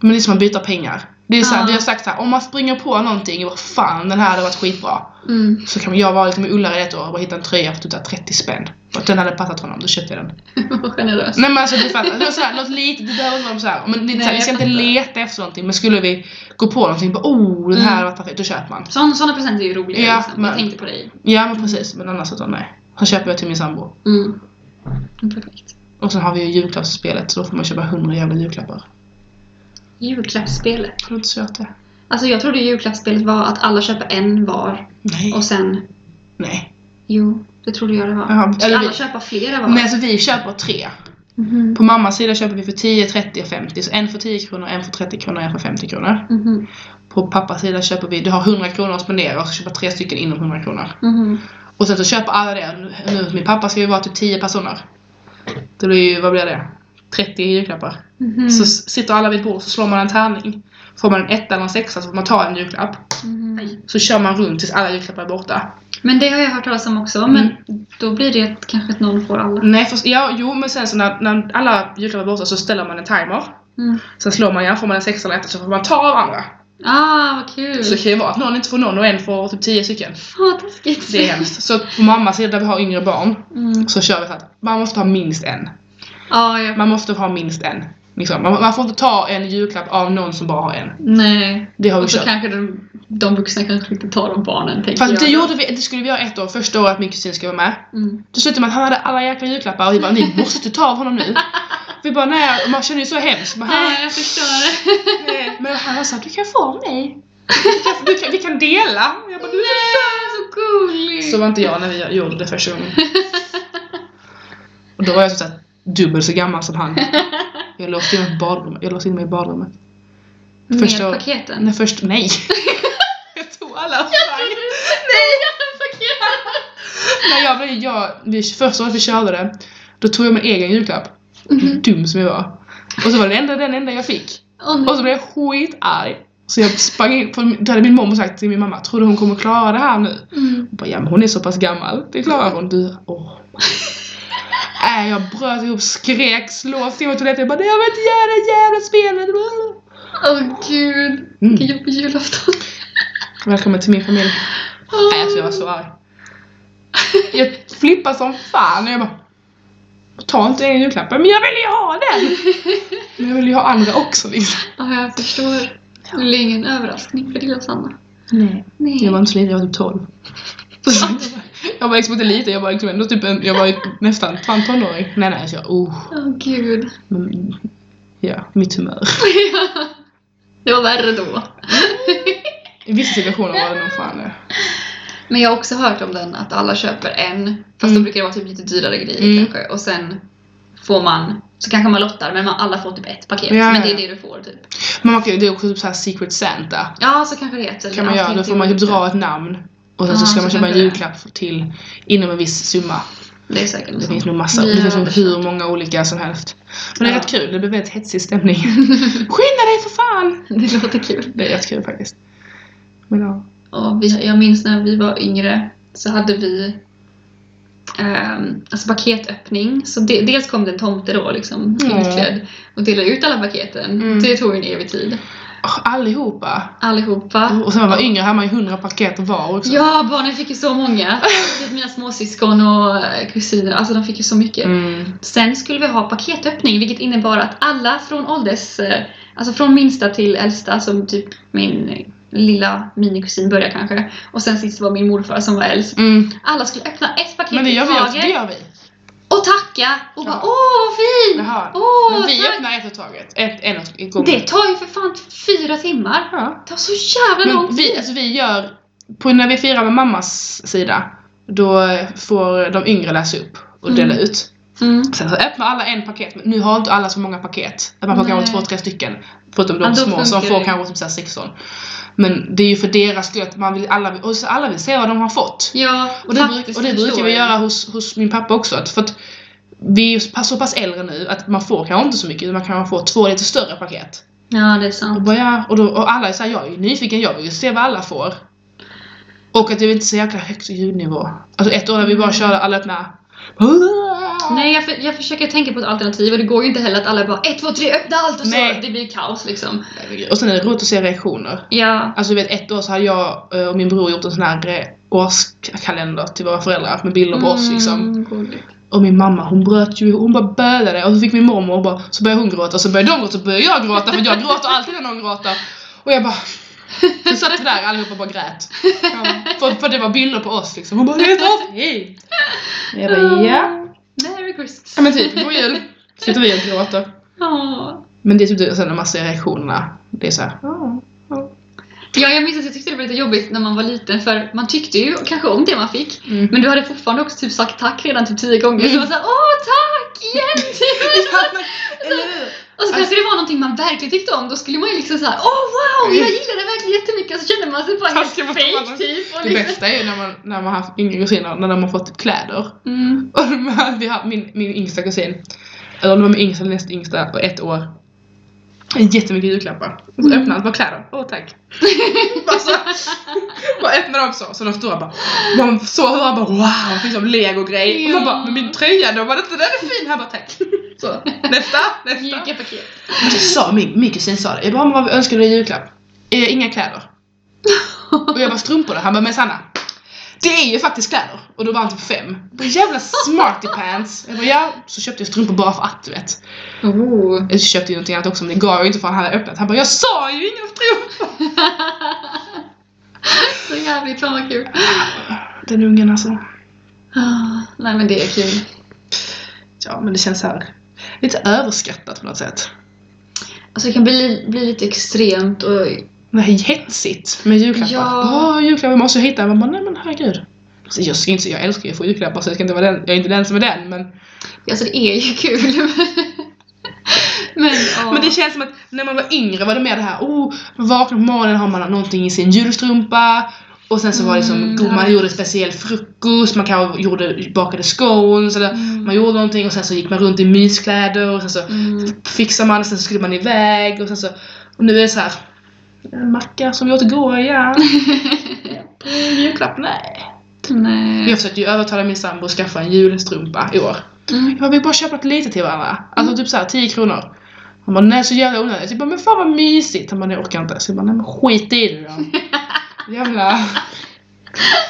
Speaker 2: men det är som att byta pengar. Det är såhär,
Speaker 1: Ja.
Speaker 2: vi har sagt såhär, om man springer på någonting, vad fan den här hade varit skitbra.
Speaker 1: Mm.
Speaker 2: Så kan jag vara lite med Ullared ett år och bara hitta en tröja för typ 30 spänn. Och den hade passat honom, då köpte jag den.
Speaker 1: Vad generös.
Speaker 2: Nej men alltså du fattar, det var såhär, något litet, det behöver inte vara såhär, men det är
Speaker 1: Nej,
Speaker 2: såhär, vi ska
Speaker 1: jag
Speaker 2: inte
Speaker 1: fattar.
Speaker 2: leta efter någonting men skulle vi gå på någonting, bara oh den här
Speaker 1: Mm.
Speaker 2: var perfekt, då köper man.
Speaker 1: Sådana, sådana presenter är ju roliga.
Speaker 2: Ja,
Speaker 1: liksom.
Speaker 2: men-
Speaker 1: Jag tänkte på dig.
Speaker 2: Ja men precis, men annars så nej. Så köper jag till min sambo.
Speaker 1: Mm. Perfekt.
Speaker 2: Och sen har vi ju julklappsspelet så då får man köpa 100 jävla julklappar.
Speaker 1: Julklappsspelet.
Speaker 2: Har du inte sett det?
Speaker 1: Alltså jag trodde julklappsspelet var att alla köper en var
Speaker 2: Nej.
Speaker 1: och sen...
Speaker 2: Nej.
Speaker 1: Jo, det trodde jag det var.
Speaker 2: Jaha,
Speaker 1: Ska
Speaker 2: eller
Speaker 1: alla
Speaker 2: vi-
Speaker 1: köpa flera var?
Speaker 2: Nej alltså vi köper tre.
Speaker 1: Mhm.
Speaker 2: På mammas sida köper vi för 10, 30 och 50. Så en för 10 kronor, en för 30 kronor, en för 50 kronor.
Speaker 1: Mhm.
Speaker 2: På pappas sida köper vi, du har 100 kronor att spendera och så köper tre stycken inom 100 kronor.
Speaker 1: Mhm.
Speaker 2: Och sen så köper alla det. Nu- Nu hos min pappa ska vi vara typ 10 personer. Det blir ju, vad blir det? 30 julklappar.
Speaker 1: Mhm.
Speaker 2: Så s- sitter alla vid ett bord så slår man en tärning. Får man en etta eller en sexa så får man ta en julklapp.
Speaker 1: Mhm.
Speaker 2: Så kör man runt tills alla julklappar är borta.
Speaker 1: Men det har jag hört talas om också, men
Speaker 2: Mm.
Speaker 1: då blir det att kanske att någon får alla.
Speaker 2: Nej, för, ja, jo men sen så när, när alla julklappar är borta så ställer man en timer.
Speaker 1: Mm.
Speaker 2: Sen slår man igen, får man en sexa eller en etta så får man ta av andra.
Speaker 1: Ah, vad kul!
Speaker 2: Så det kan ju vara att någon inte får någon och en får typ 10 stycken.
Speaker 1: Fan vad taskigt!
Speaker 2: Det är hemskt. Så på mammas sida, där vi har yngre barn,
Speaker 1: Mm.
Speaker 2: så kör vi så att man måste ha minst en.
Speaker 1: Ah, jag...
Speaker 2: Man måste ha minst en. Liksom. Man, man får inte ta en julklapp av någon som bara har en.
Speaker 1: Nej.
Speaker 2: Det har vi
Speaker 1: Och så
Speaker 2: kört.
Speaker 1: kanske de, de vuxna kanske inte tar de barnen, tänker
Speaker 2: Fast
Speaker 1: jag.
Speaker 2: det gjorde vi, det skulle vi göra ett år, första året min kusin skulle vara med.
Speaker 1: Mm.
Speaker 2: Då slutade med att han hade alla jäkla julklappar och vi bara ni måste ta av honom nu. Vi bara nej, och man känner ju så hemskt. Bara,
Speaker 1: Ah,
Speaker 2: nej.
Speaker 1: jag förstår.
Speaker 2: nej. Men han var såhär, du kan få av mig. Du kan, du kan, vi kan dela. Jag bara, du är
Speaker 1: så gulligt!
Speaker 2: Så var inte jag när vi gjorde det första gången. Och då var jag såhär dubbelt så gammal som han. Jag låste in mig i badrummet. Jag låste in mig i badrummet. första-
Speaker 1: Med paketen?
Speaker 2: Nej, först, nej. jag tog alla
Speaker 1: Nej,
Speaker 2: fram.
Speaker 1: jag hade paketen!
Speaker 2: Nej, jag, blev- jag, vi, första året vi körde det, då tog jag min egen julklapp. Dum som jag var. Och så var det den enda, den enda jag fick.
Speaker 1: Åh, nej.
Speaker 2: Och så blev jag skitarg. Så jag sprang in, för då hade min mormor sagt till min mamma, tror du hon kommer klara det här nu?
Speaker 1: Mm.
Speaker 2: Jag bara, ja men hon är så pass gammal, det klarar hon. Du, åh. Äh, jag bröt ihop, skrek, slog till mig toaletten. Jag bara, jag vill inte göra det jävla spelet.
Speaker 1: Åh gud,
Speaker 2: Mm.
Speaker 1: vilken jobbig julafton.
Speaker 2: Välkommen till min familj.
Speaker 1: Åh.
Speaker 2: Nej, alltså jag var så arg. Jag flippade som fan och jag bara Ta inte en julklapp. Men jag vill ju ha den! Men jag vill ju ha andra också liksom.
Speaker 1: Ja, jag förstår. Det blir ingen överraskning för lilla Sanna.
Speaker 2: Nej.
Speaker 1: Nej.
Speaker 2: Jag var inte så liten, jag var typ 12. Jag var liksom inte liten, jag var liksom ändå typ en, jag var ju nästan fan tonåring. Nej nej, alltså jag, oh.
Speaker 1: Åh gud.
Speaker 2: Men, ja, mitt humör.
Speaker 1: det var värre då.
Speaker 2: Mm. I vissa situationer var det nog fan det.
Speaker 1: Men jag har också hört om den att alla köper en, fast då
Speaker 2: Mm.
Speaker 1: brukar det vara typ lite dyrare grejer
Speaker 2: Mm.
Speaker 1: kanske. Och sen får man, så kanske man lottar, men man, alla får typ ett paket.
Speaker 2: Ja,
Speaker 1: men det är
Speaker 2: ja.
Speaker 1: det du får typ.
Speaker 2: Men man kan, det är också typ så här secret santa.
Speaker 1: Ja, så kanske det heter.
Speaker 2: kan man göra. Då får man typ dra ett namn. Och sen så
Speaker 1: Ja,
Speaker 2: ska man
Speaker 1: så
Speaker 2: köpa en
Speaker 1: kanske det.
Speaker 2: julklapp till inom en viss summa.
Speaker 1: Det är säkert liksom.
Speaker 2: Det
Speaker 1: så.
Speaker 2: finns nog massa,
Speaker 1: Vi
Speaker 2: det finns
Speaker 1: har
Speaker 2: nog hur många olika som helst. Men det är
Speaker 1: Ja.
Speaker 2: rätt kul, det blir väldigt hetsig stämning. Skynda dig för fan!
Speaker 1: Det låter kul.
Speaker 2: Det är rätt kul faktiskt. Men ja.
Speaker 1: Och vi, jag minns när vi var yngre så hade vi ehm, alltså paketöppning. Så de, dels kom det en tomte då, liksom,
Speaker 2: Mm.
Speaker 1: utklädd och delade ut alla paketen.
Speaker 2: Mm.
Speaker 1: Det tog en evig tid.
Speaker 2: Åh, Allihopa.
Speaker 1: Allihopa.
Speaker 2: Och sen när man var yngre hade man ju 100 paket var också.
Speaker 1: Ja, barnen fick ju så många. Typ Mina småsyskon och eh, kusiner, alltså de fick ju så mycket.
Speaker 2: Mm.
Speaker 1: Sen skulle vi ha paketöppning, vilket innebar att alla från ålders... eh, Alltså från minsta till äldsta, som typ min eh, lilla minikusin började kanske. Och sen sist var min morfar som var äldst.
Speaker 2: Mm.
Speaker 1: Alla skulle öppna ett paket
Speaker 2: Men det
Speaker 1: i
Speaker 2: gör vi också. Det
Speaker 1: taget
Speaker 2: gör vi.
Speaker 1: och tacka! Och bara
Speaker 2: Ja.
Speaker 1: åh vad fin!
Speaker 2: Jaha.
Speaker 1: Åh,
Speaker 2: Men vi
Speaker 1: tack!
Speaker 2: öppnar ett åt taget. Ett, en åt gången.
Speaker 1: Det tar ju för fan fyra timmar!
Speaker 2: Ja.
Speaker 1: Det tar så jävla lång
Speaker 2: Men
Speaker 1: tid!
Speaker 2: vi, alltså vi gör, på, när vi firar med mammas sida, då eh, får de yngre läsa upp och dela
Speaker 1: Mm.
Speaker 2: ut.
Speaker 1: Mm.
Speaker 2: Sen så öppnar alla en paket, men nu har inte alla så många paket. Att man får
Speaker 1: Nej.
Speaker 2: kanske två, tre stycken. Förutom de
Speaker 1: Ja, då
Speaker 2: små som
Speaker 1: funkar
Speaker 2: får
Speaker 1: det.
Speaker 2: kanske typ så här 16. Men det är ju för deras skull, att man vill, alla, vill- och så alla vill se vad de har fått.
Speaker 1: Ja,
Speaker 2: Och det,
Speaker 1: faktiskt,
Speaker 2: bruk, och det brukar
Speaker 1: förstår
Speaker 2: vi
Speaker 1: jag.
Speaker 2: göra hos, hos min pappa också. Att, för att vi är ju så pass- så pass äldre nu att man får kanske inte så mycket, utan man kan få två lite större paket.
Speaker 1: Ja, det är
Speaker 2: Och,
Speaker 1: sant.
Speaker 2: bara, ja, och, då, och alla är såhär, jag är ju nyfiken, jag vill ju se vad alla får. Och att det är inte så jäkla högt ljudnivå. Alltså ett år när vi bara körde alla öppna.
Speaker 1: Nej, jag, för, jag försöker tänka på ett alternativ och det går ju inte heller att alla bara 1, 2, 3, öppna allt och så.
Speaker 2: Nej.
Speaker 1: Det blir kaos liksom.
Speaker 2: Och sen är det roligt att se reaktioner.
Speaker 1: Ja.
Speaker 2: Alltså du vet, ett år så hade jag eh, och min bror gjort en sån här eh, årskalender till våra föräldrar med bilder på oss liksom.
Speaker 1: Mm, gulligt.
Speaker 2: Och min mamma hon bröt ju, hon bara bölade och så fick min mormor och bara, så började hon gråta och så började de gråta och så började jag gråta för jag gråter alltid när någon gråter. Och jag bara vi satt där allihopa och bara grät. För, för det var bilder på oss liksom. Hon bara det är så fint. Och Jag bara ja.
Speaker 1: Merry
Speaker 2: Ja,
Speaker 1: Christmas.
Speaker 2: men typ god jul. Sitter vi och gråter.
Speaker 1: Ja.
Speaker 2: Men det är typ det, sen när man ser reaktionerna. Det är såhär.
Speaker 1: Ja, jag minns att jag tyckte det var lite jobbigt när man var liten för man tyckte ju kanske om det man fick.
Speaker 2: Mm.
Speaker 1: Men du hade fortfarande också typ sagt tack redan typ tio gånger. Så det var såhär, åh tack igen! typ." och så kanske det var någonting man verkligen tyckte om. Då skulle man ju liksom såhär, åh wow, jag
Speaker 2: Mm.
Speaker 1: gillade det verkligen jättemycket. Så kände man sig bara helt
Speaker 2: Taskig mot
Speaker 1: fake
Speaker 2: varandra.
Speaker 1: typ. Och
Speaker 2: Det
Speaker 1: liksom.
Speaker 2: bästa är ju när man, när man har haft yngre kusiner, när de har fått kläder.
Speaker 1: mm.
Speaker 2: Och de här, vi har min, min yngsta kusin, eller om det var min yngsta eller näst yngsta, och ett år. Jättemycket julklappar. Och så
Speaker 1: Mm.
Speaker 2: öppnade han bara kläder. Åh tack. bara, så, bara öppnade de så, så de stora bara, man så hör bara wow, fick som legogrej. Och man bara, men min tröja då, var det inte den är fin? Han bara tack. Så, nästa, nästa.
Speaker 1: Mjuka paket.
Speaker 2: Men det sa min, min kusin sa det. Jag bara, men vad önskar du i julklapp? Eh, inga kläder. Och jag bara, strumpor då? Han bara, men Sanna. Det är ju faktiskt kläder. Och då var han typ fem. Jag bara, jävla smarty pants. Jag bara, ja. Så köpte jag strumpor bara för att du vet.
Speaker 1: Oh.
Speaker 2: Jag köpte ju någonting annat också men det gav jag ju inte för han hade öppnat. Han bara, jag sa ju inga strumpor.
Speaker 1: Så jävligt fan vad kul.
Speaker 2: Den ungen alltså.
Speaker 1: Ah, Nej men det är kul.
Speaker 2: Ja men det känns så här lite överskattat på något sätt.
Speaker 1: Alltså det kan bli, bli lite extremt och
Speaker 2: Det här är hetsigt med julklappar.
Speaker 1: Ja.
Speaker 2: Åh, julklappar måste jag hitta. Man bara, nej men herregud. Alltså, jag, ska inte, jag älskar ju att få julklappar så jag, ska inte vara den, jag är inte den som är den men
Speaker 1: Alltså det är ju kul. men, ja.
Speaker 2: Men det känns som att när man var yngre var det mer det här, oh, man vaknar på morgonen har man någonting i sin julstrumpa. Och sen så var det som,
Speaker 1: Mm,
Speaker 2: god,
Speaker 1: ja.
Speaker 2: man gjorde speciell frukost, man kanske gjorde, bakade scones eller
Speaker 1: Mm.
Speaker 2: man gjorde någonting och sen så gick man runt i myskläder och sen så
Speaker 1: Mm.
Speaker 2: fixade man och sen så skulle man iväg och sen så, och nu är det så här en macka som vi åt igår igen. Julklapp? Nej.
Speaker 1: Nej.
Speaker 2: Jag försökte ju övertala min sambo att skaffa en julstrumpa i år.
Speaker 1: Mm.
Speaker 2: Ja, vi bara köpa lite till varandra. Alltså typ såhär 10 kronor. Han bara, nej så jävla onödigt. Jag bara, men fan vad mysigt. Han bara, nej jag orkar inte. Så jag bara, nej men skit i det då. Jävla.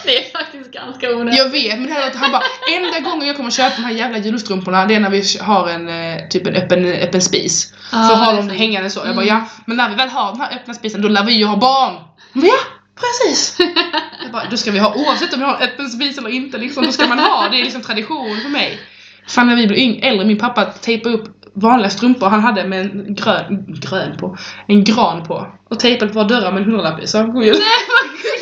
Speaker 1: Det är faktiskt ganska onödigt.
Speaker 2: Jag vet, men det här, han bara, enda gången jag kommer köpa de här jävla julstrumporna det är när vi har en eh, typ en öppen, öppen spis.
Speaker 1: Ja,
Speaker 2: så har
Speaker 1: det är
Speaker 2: de
Speaker 1: sant.
Speaker 2: hängande så. Jag bara,
Speaker 1: Mm.
Speaker 2: ja men när vi väl har den här öppna spisen då lär vi ju ha barn. Han bara, ja precis. Jag bara, då ska vi ha oavsett om vi har en öppen spis eller inte liksom, då ska man ha. Det är liksom tradition för mig. Fan när vi blev yng- äldre, min pappa tejpade upp vanliga strumpor han hade med en grön, grön på, en gran på. Och tejpade på våra dörrar med en hundralapp i. Så god jul.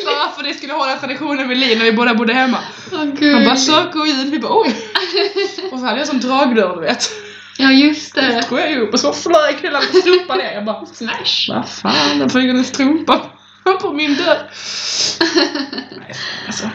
Speaker 2: Bara för det skulle hålla traditionen vid liv när vi båda bodde hemma.
Speaker 1: Åh
Speaker 2: Han
Speaker 1: gud.
Speaker 2: bara så god jul, vi bara oj. Och så hade jag sån dragdörr du vet.
Speaker 1: Ja just
Speaker 2: Då
Speaker 1: det.
Speaker 2: drog jag upp och så flög hela min strumpa ner. Jag bara
Speaker 1: Smash.
Speaker 2: vad fan, jag flög en strumpa på min dörr. Nej, fan, alltså.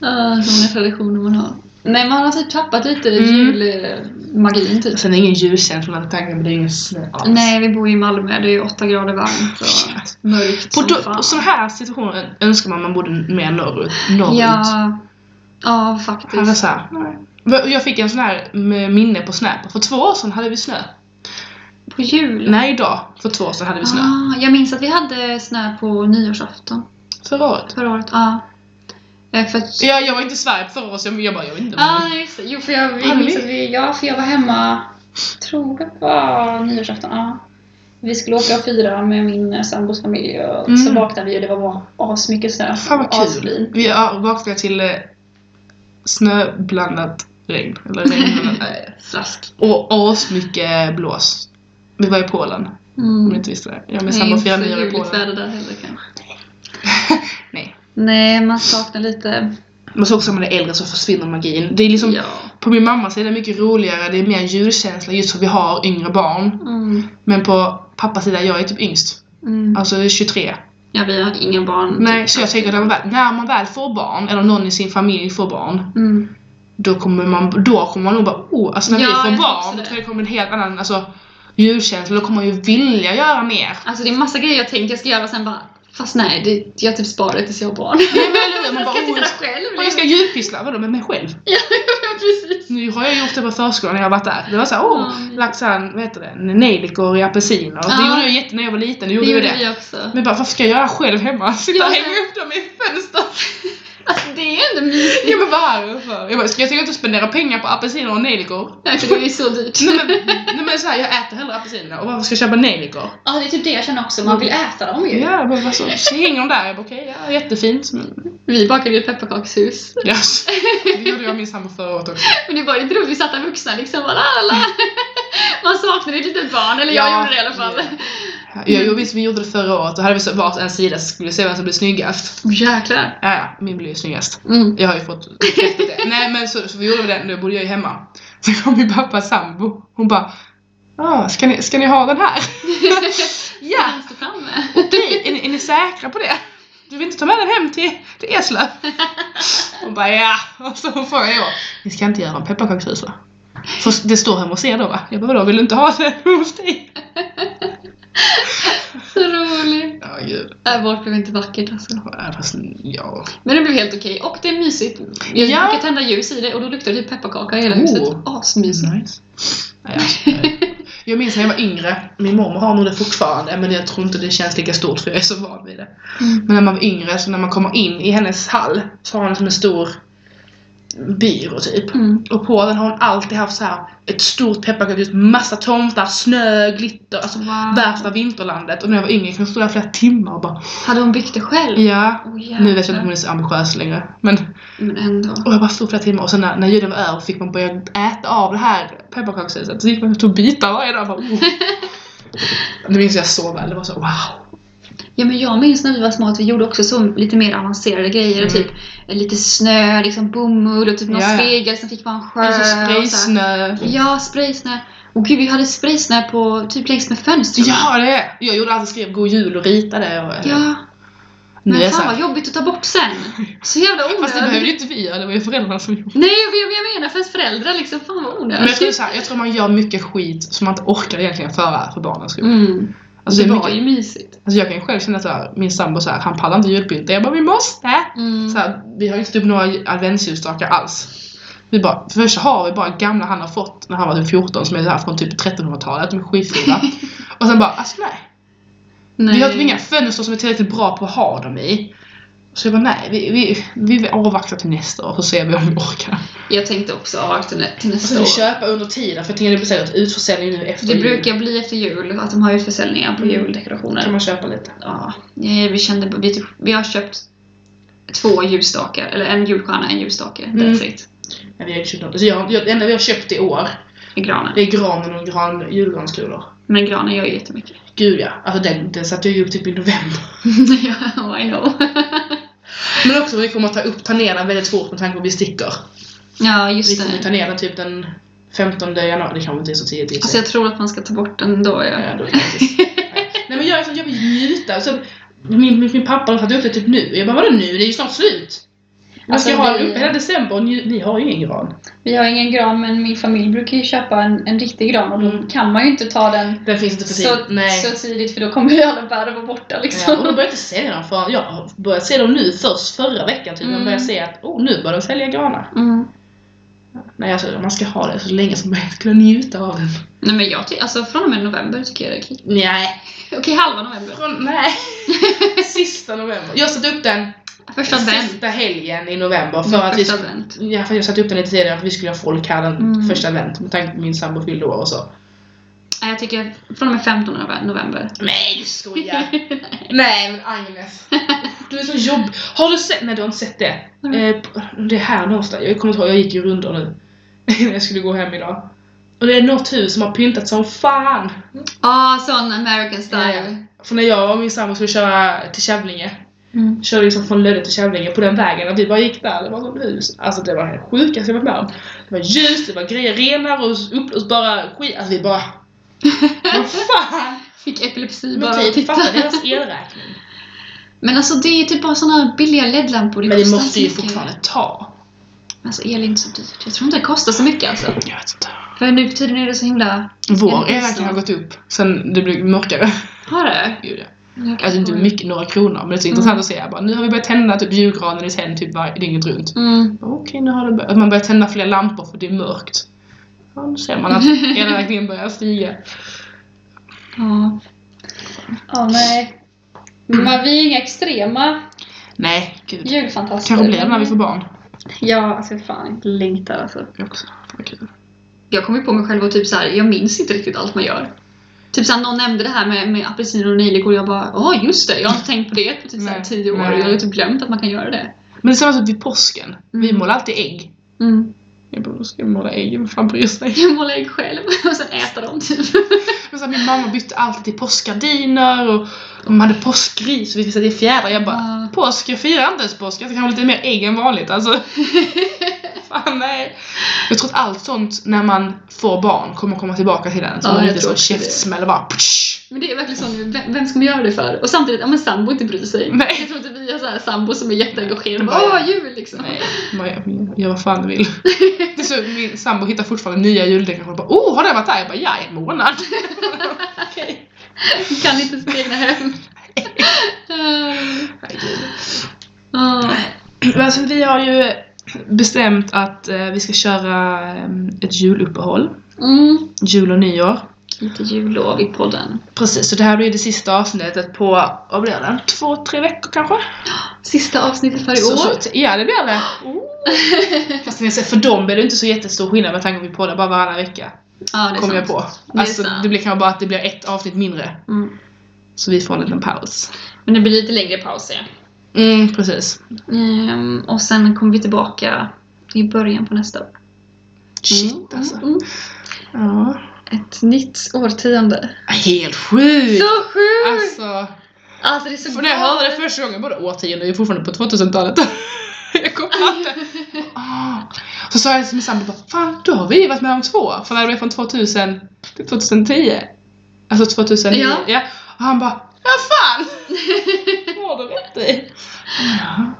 Speaker 1: Ah, så många traditioner man har. Nej man har typ tappat lite
Speaker 2: Mm.
Speaker 1: julmagin typ.
Speaker 2: Sen är det ingen julkänsla när tanken blir ingen snö alls. alltså,
Speaker 1: Nej vi bor i Malmö, det är ju 8 grader varmt och
Speaker 2: Shit.
Speaker 1: mörkt
Speaker 2: På
Speaker 1: som
Speaker 2: då-
Speaker 1: fan.
Speaker 2: på sådana här situationer önskar man man bodde mer norrut. norrut.
Speaker 1: Ja. Ja
Speaker 2: Han var
Speaker 1: faktiskt.
Speaker 2: så eh, här. Jag fick en sån här med minne på Snap. För två år sedan hade vi snö.
Speaker 1: På jul?
Speaker 2: Nej, idag. För två år sedan hade vi snö.
Speaker 1: Ah, jag minns att vi hade snö på nyårsafton
Speaker 2: Förra året.
Speaker 1: förra året. Ja. Eh, För att...
Speaker 2: Ja, jag var inte i Sverige förra året, så jag, jag bara, jag vet inte.
Speaker 1: Ah, just det. Jo, för jag, vi
Speaker 2: Hade
Speaker 1: minns
Speaker 2: vi?
Speaker 1: att vi, ja, för jag var hemma, tror jag det var nyårsafton. Ja. Vi skulle åka och fira med min eh, sambos familj och så
Speaker 2: Mm.
Speaker 1: vaknade vi och det var bara asmycket snö.
Speaker 2: Fan vad kul.
Speaker 1: Asfin.
Speaker 2: Vi ja, vaknade till eh, snöblandat regn. Eller regn nej.
Speaker 1: Slask.
Speaker 2: och asmycket blås. Vi var i Polen, om ni
Speaker 1: Mm.
Speaker 2: inte visste det. Jag och min sambo firade nyår i
Speaker 1: ljuvligt
Speaker 2: Polen.
Speaker 1: väder där heller kanske.
Speaker 2: Nej.
Speaker 1: Nej, man saknar lite...
Speaker 2: Men så också när man är äldre så försvinner magin. Det är liksom,
Speaker 1: Ja.
Speaker 2: På min mammas sida är det mycket roligare, det är mer julkänsla just för vi har yngre barn.
Speaker 1: Mm.
Speaker 2: Men på pappas sida, jag är typ yngst.
Speaker 1: Mm.
Speaker 2: Alltså 23.
Speaker 1: Ja, vi hade inga barn.
Speaker 2: Nej, så jag tänker att när man väl, när man väl får barn, eller någon i sin familj får barn,
Speaker 1: Mm.
Speaker 2: då kommer man, då kommer man nog bara oh, alltså när
Speaker 1: Ja,
Speaker 2: vi
Speaker 1: jag
Speaker 2: får
Speaker 1: tror också
Speaker 2: barn,
Speaker 1: det.
Speaker 2: då tror jag det kommer en helt annan alltså, julkänsla, då kommer man ju vilja göra mer.
Speaker 1: Alltså det är massa grejer jag tänker jag ska göra sen bara... Fast nej, det, jag typ sparar det tills jag har barn.
Speaker 2: Nej, men eller hur? Man
Speaker 1: jag
Speaker 2: bara,
Speaker 1: ska inte
Speaker 2: oh,
Speaker 1: göra
Speaker 2: jag,
Speaker 1: själv. liksom."
Speaker 2: och jag ska djupyssla, vadå med mig själv?
Speaker 1: Ja, precis.
Speaker 2: Nu har jag gjort det på förskolan när jag har varit där. Det var såhär, åh,
Speaker 1: Ja.
Speaker 2: lagt såhär, vad heter det, nejlikor i apelsiner.
Speaker 1: Ja.
Speaker 2: Det gjorde jag jätte, när jag var liten, då
Speaker 1: Det
Speaker 2: gjorde vi
Speaker 1: gjorde
Speaker 2: det.
Speaker 1: vi också.
Speaker 2: Men bara, varför ska jag göra själv hemma? Sitta
Speaker 1: Ja,
Speaker 2: ja,
Speaker 1: men-
Speaker 2: hemma upp dem i fönstret.
Speaker 1: Alltså det är ändå mysigt.
Speaker 2: Ja men varför? Jag bara, ska jag tänker inte spendera pengar på apelsiner och nejlikor?
Speaker 1: Nej, för det är ju så dyrt.
Speaker 2: Nej men, nej, men såhär, jag äter hellre apelsiner och varför ska jag köpa nejlikor?
Speaker 1: Ja, det är typ det jag känner också. Man vill äta dem ju.
Speaker 2: Mm. Ja, men alltså, så hänger de där. Jag bara, okej, ja, jättefint. Men,
Speaker 1: Vi bakade ju pepparkakshus.
Speaker 2: yes. Det gjorde jag och min sambo förra året också.
Speaker 1: Men det var ju inte roligt, vi satt där vuxna liksom bara la, la, la. Man saknade ett litet barn, eller jag
Speaker 2: Ja.
Speaker 1: gjorde det i alla fall.
Speaker 2: Ja, jo, visst, vi gjorde det förra året. Då hade vi så vart en sida så skulle vi se vem som blev snyggast.
Speaker 1: Oh, jäklar.
Speaker 2: Ja, ja, min blev ju snyggast.
Speaker 1: Mm.
Speaker 2: Jag har ju fått bekräftat det. Nej, men så, så vi gjorde den. Då bodde jag ju hemma. Så kom min pappas sambo. Hon bara, ah, ska, ni, ska ni ha den här?
Speaker 1: Ja.
Speaker 2: ja,
Speaker 1: Vänster framme.
Speaker 2: okej. Är, ni- är ni säkra på det? Du vill inte ta med den hem till, till Eslöv? Hon bara ja. Och så frågade jag. Ni ska inte göra en pepparkakshus va? För det står hemma hos er då va? Jag bara vadå vill du inte ha det hos dig?
Speaker 1: Så roligt.
Speaker 2: Ja gud.
Speaker 1: Äh, vårt blev inte vackert alltså.
Speaker 2: Ja, fast, ja.
Speaker 1: Men det blev helt okej och det är mysigt. Jag
Speaker 2: Ja.
Speaker 1: brukar tända ljus i det och då luktar det typ pepparkaka i hela
Speaker 2: Oh.
Speaker 1: huset. Asmysigt.
Speaker 2: Nice. Nej, alltså, nej. jag minns när jag var yngre. Min mormor har nog det fortfarande men jag tror inte det känns lika stort för jag är så van vid det.
Speaker 1: Mm.
Speaker 2: Men när man var yngre så när man kommer in i hennes hall så har hon som en stor byrå typ.
Speaker 1: Mm.
Speaker 2: Och på den har hon alltid haft så här ett stort pepparkakshus, massa tomtar, snö, glitter. Alltså
Speaker 1: Wow.
Speaker 2: värsta vinterlandet. Och när jag var yngre kunde jag stå där flera timmar och bara
Speaker 1: Hade hon byggt det själv?
Speaker 2: Ja.
Speaker 1: Oh,
Speaker 2: Mm. Nu vet jag inte
Speaker 1: jävlar.
Speaker 2: om hon är så ambitiös längre. Men,
Speaker 1: Men ändå.
Speaker 2: och jag bara stod flera timmar och sen när, när julen var över fick man börja äta av det här pepparkakshuset. Så gick man och tog bitar varje dag. och Bara, oh. det minns jag så väl. Det var så wow.
Speaker 1: Ja, men jag minns när vi var små att vi gjorde också så lite mer avancerade grejer.
Speaker 2: Mm.
Speaker 1: Typ eh, lite snö, liksom bomull och typ någon
Speaker 2: Ja, Alltså, ja.
Speaker 1: spegel som fick vara en sjö.
Speaker 2: Eller så
Speaker 1: och så här.
Speaker 2: spraysnö.
Speaker 1: Ja, spraysnö. Och gud, vi hade spraysnö på typ längs med fönstren.
Speaker 2: Ja det är Jag gjorde alltid skrev god jul och ritade. Och,
Speaker 1: ja.
Speaker 2: nu är
Speaker 1: Men
Speaker 2: jag
Speaker 1: fan
Speaker 2: så här,
Speaker 1: vad jobbigt att ta bort sen. Så jävla
Speaker 2: Fast det behövde ju
Speaker 1: onödigt.
Speaker 2: inte vi göra. Det var ju föräldrarna som gjorde.
Speaker 1: Nej, jag, vet- jag menar för ens föräldrar liksom. Fan vad
Speaker 2: Men jag tror,
Speaker 1: onödigt.
Speaker 2: så här, jag tror man gör mycket skit som man inte orkar egentligen föra för barnens skull.
Speaker 1: Mm.
Speaker 2: Alltså,
Speaker 1: det,
Speaker 2: det är
Speaker 1: var
Speaker 2: mycket-
Speaker 1: ju mysigt.
Speaker 2: Alltså jag kan ju själv känna så här, min sambo så här, han pallar inte julpynta. Jag bara, vi måste!
Speaker 1: Mm.
Speaker 2: Så här, vi har ju inte typ några adventsljusstakar alls. Vi bara, för det första har vi bara gamla han har fått när han var typ 14 som är så här från typ 1300-talet, de är skitfula. Och sen bara, alltså nej.
Speaker 1: Nej.
Speaker 2: Vi har typ inga fönster som är tillräckligt bra på att ha dem i. Så jag bara, nej, vi, vi, vi avvaktar till nästa år så ser vi om vi orkar.
Speaker 1: Jag tänkte också avvakta nä- till
Speaker 2: Och
Speaker 1: nästa
Speaker 2: sen
Speaker 1: år.
Speaker 2: köpa under tiden, för jag tänker det blir säkert utförsäljning nu efter
Speaker 1: Det
Speaker 2: jul.
Speaker 1: brukar bli efter jul att de har utförsäljningar på juldekorationer.
Speaker 2: kan man köpa lite.
Speaker 1: Ja, eh, vi kände vi, typ, vi har köpt två ljusstakar, eller en julstjärna, en ljusstake.
Speaker 2: Mm.
Speaker 1: That's it.
Speaker 2: Ja, vi har inte köpt något. Så jag, jag, det enda vi har köpt i år,
Speaker 1: I granen.
Speaker 2: det är granen och gran, julgranskulor.
Speaker 1: Men granen gör ju jättemycket.
Speaker 2: Gud ja, alltså den, den satte jag ju upp typ i november.
Speaker 1: Ja, I know.
Speaker 2: Men också vi kommer att ta upp, ta ner den väldigt fort med tanke på att vi sticker.
Speaker 1: ja,
Speaker 2: Vi
Speaker 1: just
Speaker 2: kommer att ta
Speaker 1: det.
Speaker 2: ner den typ den 15 januari, det kanske inte är så tidigt i och för
Speaker 1: Alltså
Speaker 2: sig.
Speaker 1: jag tror att man ska ta bort den då.
Speaker 2: Ja,
Speaker 1: Ja.
Speaker 2: då är det faktiskt- Nej men jag, är så- jag vill njuta. Så, min, min, min pappa har satt upp det typ nu. Jag bara vadå nu? Det är ju snart slut! Jag ska
Speaker 1: Alltså,
Speaker 2: ha
Speaker 1: vi-
Speaker 2: den uppe hela december och ni, ni har ju ingen gran.
Speaker 1: Vi har ingen gran, men min familj brukar ju köpa en, en riktig gran och då
Speaker 2: Mm.
Speaker 1: kan man ju inte ta den
Speaker 2: Den finns inte för
Speaker 1: så,
Speaker 2: tidigt. Nej.
Speaker 1: så tidigt för då kommer ju alla bär vara borta liksom.
Speaker 2: Ja, och de börjar inte sälja dem för jag har börjat se dem nu först förra veckan typ. Man
Speaker 1: Mm.
Speaker 2: börjar se att oh, nu börjar de sälja granar.
Speaker 1: Mm.
Speaker 2: Nej, alltså man ska ha det så länge som möjligt. Kunna njuta av den.
Speaker 1: Nej men jag tycker, alltså från och med november tycker jag det är okej.
Speaker 2: Nej.
Speaker 1: Okej, halva november.
Speaker 2: Från, nej. Sista november. Jag satte upp den
Speaker 1: Första advent.
Speaker 2: sista helgen i november för att vi
Speaker 1: Första
Speaker 2: skulle
Speaker 1: advent.
Speaker 2: Ja, för jag satte upp den lite tidigare för vi skulle ha folk här den
Speaker 1: Mm.
Speaker 2: första advent med tanke på min sambo fyllde år och så.
Speaker 1: Nej, jag tycker från och med 15 nove- november.
Speaker 2: Nej, du skojar! Nej, men Agnes. Du är så jobb... Har du sett... Nej, du har inte sett det.
Speaker 1: Nej.
Speaker 2: Eh, på- det är här någonstans. Jag kommer inte ihåg, jag gick ju rundor nu. När jag skulle gå hem idag. Och det är något hus som har pyntat som fan! Eh,
Speaker 1: Ah, sån American style.
Speaker 2: För när jag och min sambo skulle köra till Kävlinge.
Speaker 1: Mm.
Speaker 2: Körde liksom från Lödde till Kävlinge på den vägen. Och vi bara gick där. Det var som hus. Alltså det var det sjukaste jag varit med om. Det var ljus, det var grejer, renar och uppblåsbara skit. Alltså vi bara... Vad fan!
Speaker 1: Fick epilepsi bara av
Speaker 2: Men
Speaker 1: att
Speaker 2: typ,
Speaker 1: titta.
Speaker 2: fatta deras elräkning.
Speaker 1: Men alltså det är typ bara såna här billiga LED-lampor.
Speaker 2: Men det
Speaker 1: kostar
Speaker 2: måste
Speaker 1: inte
Speaker 2: ju
Speaker 1: mycket.
Speaker 2: fortfarande ta.
Speaker 1: Alltså el är inte så dyrt. Jag tror inte det kostar så mycket alltså.
Speaker 2: Jag vet inte.
Speaker 1: För nu för tiden är det så himla...
Speaker 2: Vår
Speaker 1: Elräkning
Speaker 2: elräkning har
Speaker 1: har
Speaker 2: gått upp sen det blev mörkare.
Speaker 1: Har det?
Speaker 2: Gud, ja.
Speaker 1: Jag
Speaker 2: Alltså inte mycket, några kronor, men det är så intressant att se. Bara, nu har vi börjat tända, typ julgranen är tänd typ varje- dygnet runt.
Speaker 1: Mm.
Speaker 2: Bara, Okej, nu har det börjat. Att man börjar tända fler lampor för det är mörkt. Ja, nu ser man att elräkningen börjar stiga.
Speaker 1: Ja. Ja, nej. Men vi är inga extrema
Speaker 2: Nej, gud.
Speaker 1: julfantaster.
Speaker 2: Kanske blir det när vi får barn.
Speaker 1: Ja, alltså fan. Längtar alltså.
Speaker 2: Jag också. Fan, vad kul.
Speaker 1: Jag kom ju på mig själv och typ så här, jag minns inte riktigt allt man gör. Typ såhär, någon nämnde det här med, med apelsiner och nejlikor och jag bara ja just det, jag har inte tänkt på det på typ såhär
Speaker 2: Nej.
Speaker 1: tio år.
Speaker 2: Nej.
Speaker 1: Jag har ju typ glömt att man kan göra det.
Speaker 2: Men det är samma sak vid typ påsken. Vi målar alltid ägg.
Speaker 1: Mm.
Speaker 2: Jag bara, då ska jag måla ägg, vem fan bryr sig?
Speaker 1: Jag målar ägg själv och sen äter dem typ.
Speaker 2: Men så här, min mamma bytte alltid till påskgardiner och de hade påskgris och vi visade det i fjädrar. Jag bara,
Speaker 1: Ja.
Speaker 2: påsk, jag firar inte ens påsk. Jag ska ha lite mer ägg än vanligt. Alltså. Fan nej. Jag tror att allt sånt när man får barn kommer komma tillbaka till den. Så
Speaker 1: Ja,
Speaker 2: man
Speaker 1: jag
Speaker 2: inte
Speaker 1: tror
Speaker 2: så
Speaker 1: också det.
Speaker 2: käftsmäll och bara ptsch.
Speaker 1: Men det är verkligen sån, vem, vem ska man göra det för? Och samtidigt, ja men sambo inte bryr sig.
Speaker 2: Nej.
Speaker 1: Jag tror inte vi är såhär sambo som är jätteengagerade och
Speaker 2: Nej.
Speaker 1: bara åh jul liksom.
Speaker 2: Nej, man gör vad fan du vill. Det är så, min sambo hittar fortfarande nya juldekorationer och bara oh, har den varit där? Jag bara ja, i en månad. Okej.
Speaker 1: Kan inte sitt egna hem. Eh, ja.
Speaker 2: Men Alltså, vi har ju bestämt att eh, vi ska köra eh, ett juluppehåll.
Speaker 1: mm.
Speaker 2: Jul och nyår.
Speaker 1: Lite jullov i podden.
Speaker 2: Precis, så det här blir det sista avsnittet på, vad blir det? Två, tre veckor kanske?
Speaker 1: Sista avsnittet för i
Speaker 2: Så,
Speaker 1: år.
Speaker 2: så, ja, det blir det. Fast ni ser, för dem blir det inte så jättestor skillnad med tanke på att vi poddar bara varannan vecka.
Speaker 1: Ja, det är
Speaker 2: Kommer jag
Speaker 1: sant.
Speaker 2: på.
Speaker 1: Det är
Speaker 2: Alltså,
Speaker 1: sant.
Speaker 2: det blir kanske bara att det blir ett avsnitt mindre.
Speaker 1: Mm.
Speaker 2: Så vi får en liten paus.
Speaker 1: Men det blir lite längre paus, ja.
Speaker 2: Mm, precis.
Speaker 1: Ehm, och sen kommer vi tillbaka i början på nästa år.
Speaker 2: Shit
Speaker 1: Mm,
Speaker 2: alltså.
Speaker 1: mm, mm.
Speaker 2: Ja.
Speaker 1: Ett nytt årtionde.
Speaker 2: Ah, Helt sjukt!
Speaker 1: Så sjukt! Alltså,
Speaker 2: Alltså,
Speaker 1: det är så
Speaker 2: för när jag hörde det första gången, bara årtionde, vi är fortfarande på 2000-talet. jag kom på det. Ah. Så sa jag till min sambo bara, fan då har vi varit med om två. För när det blev från 2000 till 2010. Alltså 2009.
Speaker 1: Ja.
Speaker 2: Ja. Och han bara, ja fan! Har du rätt i? Ja.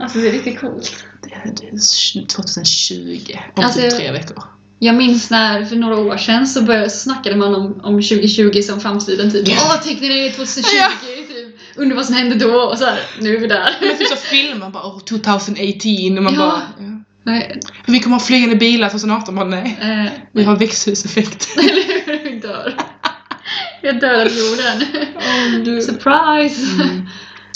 Speaker 1: Alltså det är riktigt coolt.
Speaker 2: Det är det är 2020. Om
Speaker 1: Alltså,
Speaker 2: typ
Speaker 1: jag-
Speaker 2: tre veckor.
Speaker 1: Jag minns när för några år sedan så, började, så snackade man om, om 2020 som framtiden. Typ,
Speaker 2: Ja.
Speaker 1: åh, tänk när det är 2020!
Speaker 2: Ja.
Speaker 1: Typ, undrar vad som hände då? Och så här, nu är vi där.
Speaker 2: Det finns så filmer bara, oh, 2018. Och man
Speaker 1: Ja.
Speaker 2: bara, ja.
Speaker 1: Nej,
Speaker 2: För vi kommer ha flygande bilar 2018. Bara, nej.
Speaker 1: eh,
Speaker 2: Vi har växthuseffekt.
Speaker 1: eller hur? Vi dör. Jag dör av jorden.
Speaker 2: Oh,
Speaker 1: Surprise!
Speaker 2: Ja,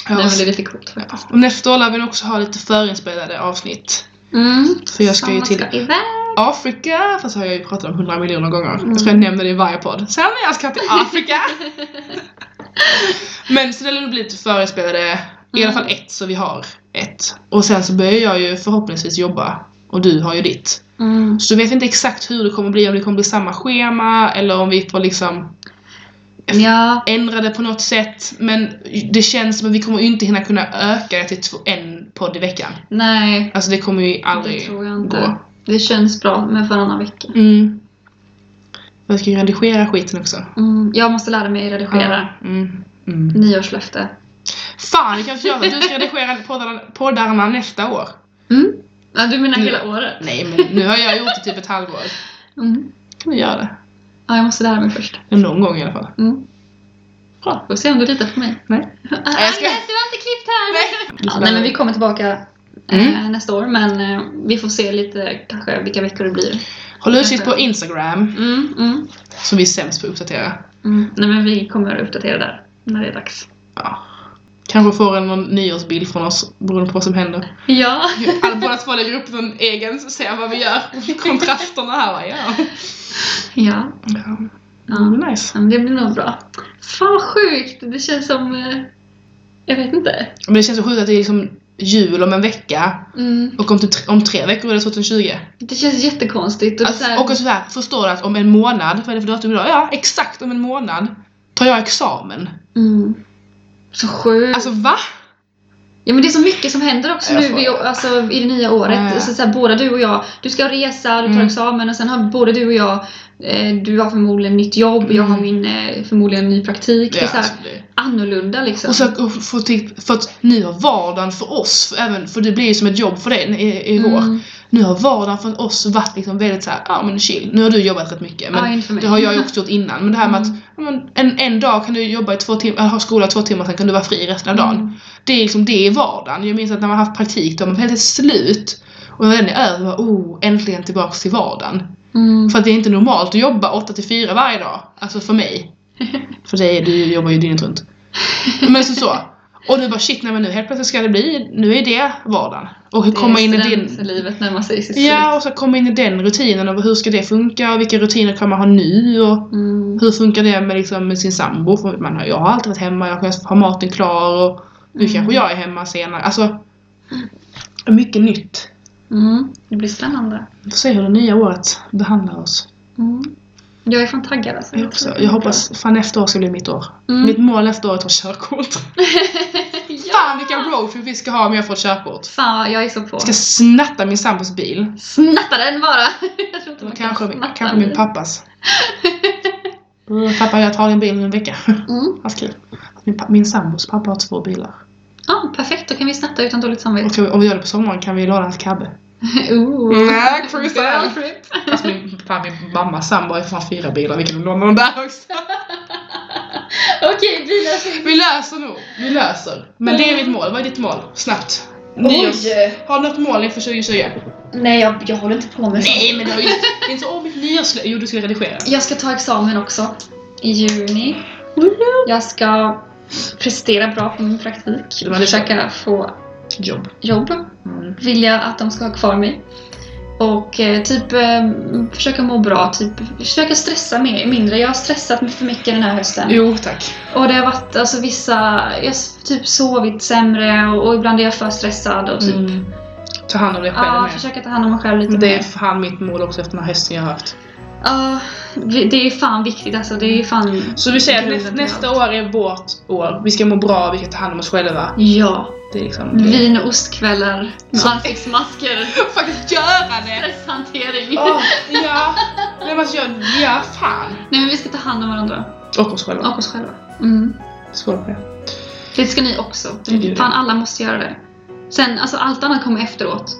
Speaker 1: Mm. Nej, men det
Speaker 2: så-
Speaker 1: är lite coolt faktiskt.
Speaker 2: ja. Och nästa år lär vi nog också ha lite förinspelade avsnitt.
Speaker 1: Mm.
Speaker 2: För jag ska ju till-
Speaker 1: Ska iväg.
Speaker 2: Afrika, fast har jag ju pratat om hundra miljoner gånger.
Speaker 1: Mm.
Speaker 2: Jag tror jag nämner det i varje podd. Sen när jag ska till Afrika! Men så det lär nog bli lite förinspelade, i alla fall
Speaker 1: Mm.
Speaker 2: ett, så vi har ett. Och sen så börjar jag ju förhoppningsvis jobba. Och du har ju ditt.
Speaker 1: Mm.
Speaker 2: Så vet vi inte exakt hur det kommer bli, om det kommer bli samma schema eller om vi får liksom
Speaker 1: Ja.
Speaker 2: ändra det på något sätt. Men det känns som att vi kommer ju inte hinna kunna öka det till två, en podd i veckan.
Speaker 1: Nej,
Speaker 2: Alltså det kommer ju aldrig
Speaker 1: det tror jag inte.
Speaker 2: gå.
Speaker 1: Det känns bra med varannan vecka.
Speaker 2: Mm. Jag ska ju redigera skiten också.
Speaker 1: Mm. Jag måste lära mig redigera.
Speaker 2: Mm. Mm.
Speaker 1: Nyårslöfte.
Speaker 2: Fan, det kanske gör att du ska redigera poddarna, poddarna nästa år.
Speaker 1: Mm. Ja, du menar
Speaker 2: Nu.
Speaker 1: hela året?
Speaker 2: Nej, men nu har jag gjort det typ ett halvår.
Speaker 1: Mm.
Speaker 2: Kan vi göra det?
Speaker 1: Ja, jag måste lära mig först.
Speaker 2: Någon gång i alla fall.
Speaker 1: Mm.
Speaker 2: Bra.
Speaker 1: Får se om du litar på mig.
Speaker 2: Nej.
Speaker 1: Ah,
Speaker 2: jag ska-
Speaker 1: Agnes, du har inte klippt här!
Speaker 2: Nej.
Speaker 1: Ja, nej, men vi kommer tillbaka
Speaker 2: Mm.
Speaker 1: eh, nästa år. Men eh, vi får se lite kanske vilka veckor det blir.
Speaker 2: Håll utkik på Instagram,
Speaker 1: Mm, mm,
Speaker 2: som vi är sämst på att uppdatera.
Speaker 1: mm. Nej men vi kommer att uppdatera där när det är dags.
Speaker 2: Ja. Kanske får en någon nyårsbild från oss, beroende på vad som händer.
Speaker 1: Ja,
Speaker 2: Alla båda två lägger upp en egen, så ser vad vi gör. Kontrasterna här va, ja.
Speaker 1: ja.
Speaker 2: ja.
Speaker 1: ja.
Speaker 2: Det blir nice.
Speaker 1: ja men det blir nog bra. Fan vad sjukt! Det känns som... eh, Jag vet inte.
Speaker 2: Men det känns så sjukt att det är liksom jul om en vecka
Speaker 1: Mm.
Speaker 2: och om, typ, om tre veckor är det 2020.
Speaker 1: Det känns jättekonstigt. Och det är så här,
Speaker 2: Alltså, och sådär, förstår du att om en månad, vad är det för datum idag? Ja, exakt om en månad tar jag examen.
Speaker 1: mm. Så sjukt.
Speaker 2: Alltså va?
Speaker 1: Ja men det är så mycket som händer också
Speaker 2: Jag
Speaker 1: nu
Speaker 2: får-
Speaker 1: i, alltså, i det nya året.
Speaker 2: Ja, ja.
Speaker 1: Så, så här, båda du och jag, du ska resa, du tar
Speaker 2: Mm.
Speaker 1: examen och sen har både du och jag, eh, du har förmodligen nytt jobb, jag
Speaker 2: Mm.
Speaker 1: har min eh, förmodligen ny praktik. Det är så här,
Speaker 2: alltså, det-
Speaker 1: annorlunda liksom.
Speaker 2: och så och få till, för att nu har vardagen för oss, för, även, för det blir ju som ett jobb för dig eh, i, i vår.
Speaker 1: Mm.
Speaker 2: Nu har vardagen för oss varit liksom väldigt såhär, ja ah, men chill. Nu har du jobbat rätt mycket. Men
Speaker 1: Ja, inte för mig.
Speaker 2: det har jag ju också gjort innan. Men det här med
Speaker 1: Mm.
Speaker 2: att ja, men en, en dag kan du jobba i två timmar, eller ha skola i två timmar, sen kan du vara fri resten av dagen.
Speaker 1: Mm.
Speaker 2: Det är liksom det i vardagen. Jag minns att när man har haft praktik då har man helt slut. Och när den är över, bara, oh, äntligen tillbaks till vardagen.
Speaker 1: Mm.
Speaker 2: För att det är inte normalt att jobba 8 till 4 varje dag. Alltså för mig. För dig, du jobbar ju dygnet runt. Men så så. Och nu bara shit, nej men nu helt plötsligt ska det bli, nu är det vardagen. Och hur
Speaker 1: Det är
Speaker 2: komma in i
Speaker 1: student-
Speaker 2: din...
Speaker 1: livet närmar sig sitt
Speaker 2: Ja, och så komma in i den rutinen och hur ska det funka och vilka rutiner kan man ha nu och
Speaker 1: slut. Mm.
Speaker 2: hur funkar det med, liksom, med sin sambo? För man har, jag har alltid varit hemma, jag kanske har maten klar och nu
Speaker 1: Mm.
Speaker 2: kanske jag är hemma senare. Alltså, mycket nytt.
Speaker 1: Mm. Det blir spännande.
Speaker 2: Vi får se hur det nya året behandlar oss.
Speaker 1: Mm. Jag är fan taggad alltså.
Speaker 2: Jag,
Speaker 1: tror
Speaker 2: också,
Speaker 1: det blir
Speaker 2: jag hoppas fan nästa år ska bli mitt år.
Speaker 1: bra. Mm.
Speaker 2: Mitt mål nästa år är att ta körkort.
Speaker 1: ja.
Speaker 2: Fan vilken roadtrip vi ska ha om jag får ett körkort.
Speaker 1: Fan, jag är så på.
Speaker 2: Jag ska snatta min sambos bil.
Speaker 1: Snatta den bara! jag tror inte man
Speaker 2: Kanske,
Speaker 1: kan snatta
Speaker 2: kanske min
Speaker 1: den.
Speaker 2: pappas. Mm, Pappa jag tar din bil om en vecka.
Speaker 1: Mm.
Speaker 2: Vad kul. Min, pa- min sambos pappa har två bilar.
Speaker 1: Ja, perfekt. Då kan vi snatta utan dåligt
Speaker 2: Och
Speaker 1: samvete.
Speaker 2: kan vi- om vi gör det på sommaren kan vi låna hans kabbe.
Speaker 1: Ooh.
Speaker 2: Nej, cruisa.
Speaker 1: Girl trip.
Speaker 2: Fast min, fan, min mammas sambo har ju fan fyra bilar, vi kan låna dem där också.
Speaker 1: Okej, bilar som...
Speaker 2: Vi löser nog, vi löser. Men det är mitt mål, vad är ditt mål? Snabbt. Nyårs. Har du något mål inför 2020?
Speaker 1: Nej, jag, jag håller inte på med sånt.
Speaker 2: men det har ju inte... Det är inte så, åh mitt nyårslöfte. Jo, du skulle redigera.
Speaker 1: Jag ska ta examen också. I juni. Jag ska prestera bra på min praktik.
Speaker 2: Det var det.
Speaker 1: Försöka få
Speaker 2: Jobb.
Speaker 1: jobb.
Speaker 2: Mm.
Speaker 1: Vill jag att de ska ha kvar mig. Och eh, typ eh, försöka må bra. Typ, försöka stressa mer, mindre. Jag har stressat mig för mycket den här hösten.
Speaker 2: Jo, tack.
Speaker 1: Och det har varit alltså vissa, jag har typ sovit sämre och, och ibland är jag för stressad och typ,
Speaker 2: Mm. Ta hand om dig själv
Speaker 1: ja,
Speaker 2: med.
Speaker 1: försöka ta hand om mig själv lite
Speaker 2: Det är
Speaker 1: mer.
Speaker 2: fan mitt mål också efter den här hösten jag har haft.
Speaker 1: Ja, vi- det är fan viktigt alltså. Det är fan...
Speaker 2: Så vi säger att
Speaker 1: Grunden
Speaker 2: näst,
Speaker 1: till
Speaker 2: nästa år är vårt år. Vi ska må bra, vi ska ta hand om oss själva.
Speaker 1: Ja.
Speaker 2: Det är liksom...
Speaker 1: Vin och ostkvällar.
Speaker 2: Ja.
Speaker 1: Ansiktsmasker.
Speaker 2: faktiskt göra det!
Speaker 1: Stresshantering.
Speaker 2: Åh, ja. Nej, men alltså, jag, ja, fan.
Speaker 1: Nej men vi ska ta hand om varandra.
Speaker 2: Och oss själva.
Speaker 1: Och oss själva. Mm.
Speaker 2: Skål på det.
Speaker 1: Det ska ni också.
Speaker 2: Det gör vi.
Speaker 1: Fan alla måste göra det. Sen, alltså allt annat kommer efteråt.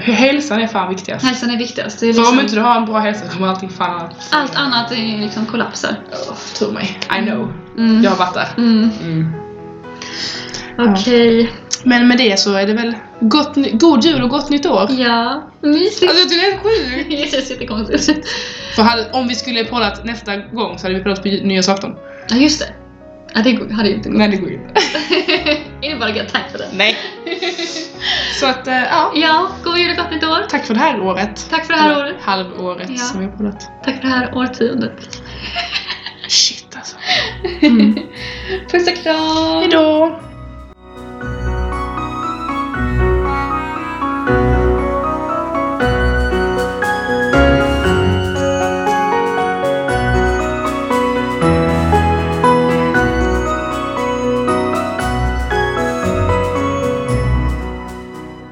Speaker 2: Hälsan är fan viktigast.
Speaker 1: Hälsan är viktigast. Det är
Speaker 2: För om
Speaker 1: liksom,
Speaker 2: inte du har en bra hälsa kommer allting fan annat.
Speaker 1: allt annat är liksom kollapsar.
Speaker 2: Åh, tro mig. I know.
Speaker 1: Mm.
Speaker 2: Jag har varit där.
Speaker 1: Mm. Okej.
Speaker 2: Men med det så är det väl gott, ny- god jul och gott nytt år.
Speaker 1: Mm. Ja, mysigt.
Speaker 2: Alltså du är sjuk!
Speaker 1: Det känns jättekonstigt.
Speaker 2: För hade, om vi skulle poddat nästa gång så hade vi poddat på ju- nyårsafton.
Speaker 1: Ja, just det. Ja, det hade ju inte gått.
Speaker 2: Nej, det går ju inte.
Speaker 1: Är det bara gött? Tack för det.
Speaker 2: Nej. Så att, eh, ja.
Speaker 1: Ja, god jul och gott nytt år.
Speaker 2: Tack för det här året.
Speaker 1: Tack för det här
Speaker 2: Eller
Speaker 1: året.
Speaker 2: Halvåret
Speaker 1: Ja.
Speaker 2: som vi har poddat.
Speaker 1: Tack för det här årtiondet.
Speaker 2: Shit alltså.
Speaker 1: Puss och kram!
Speaker 2: Hejdå!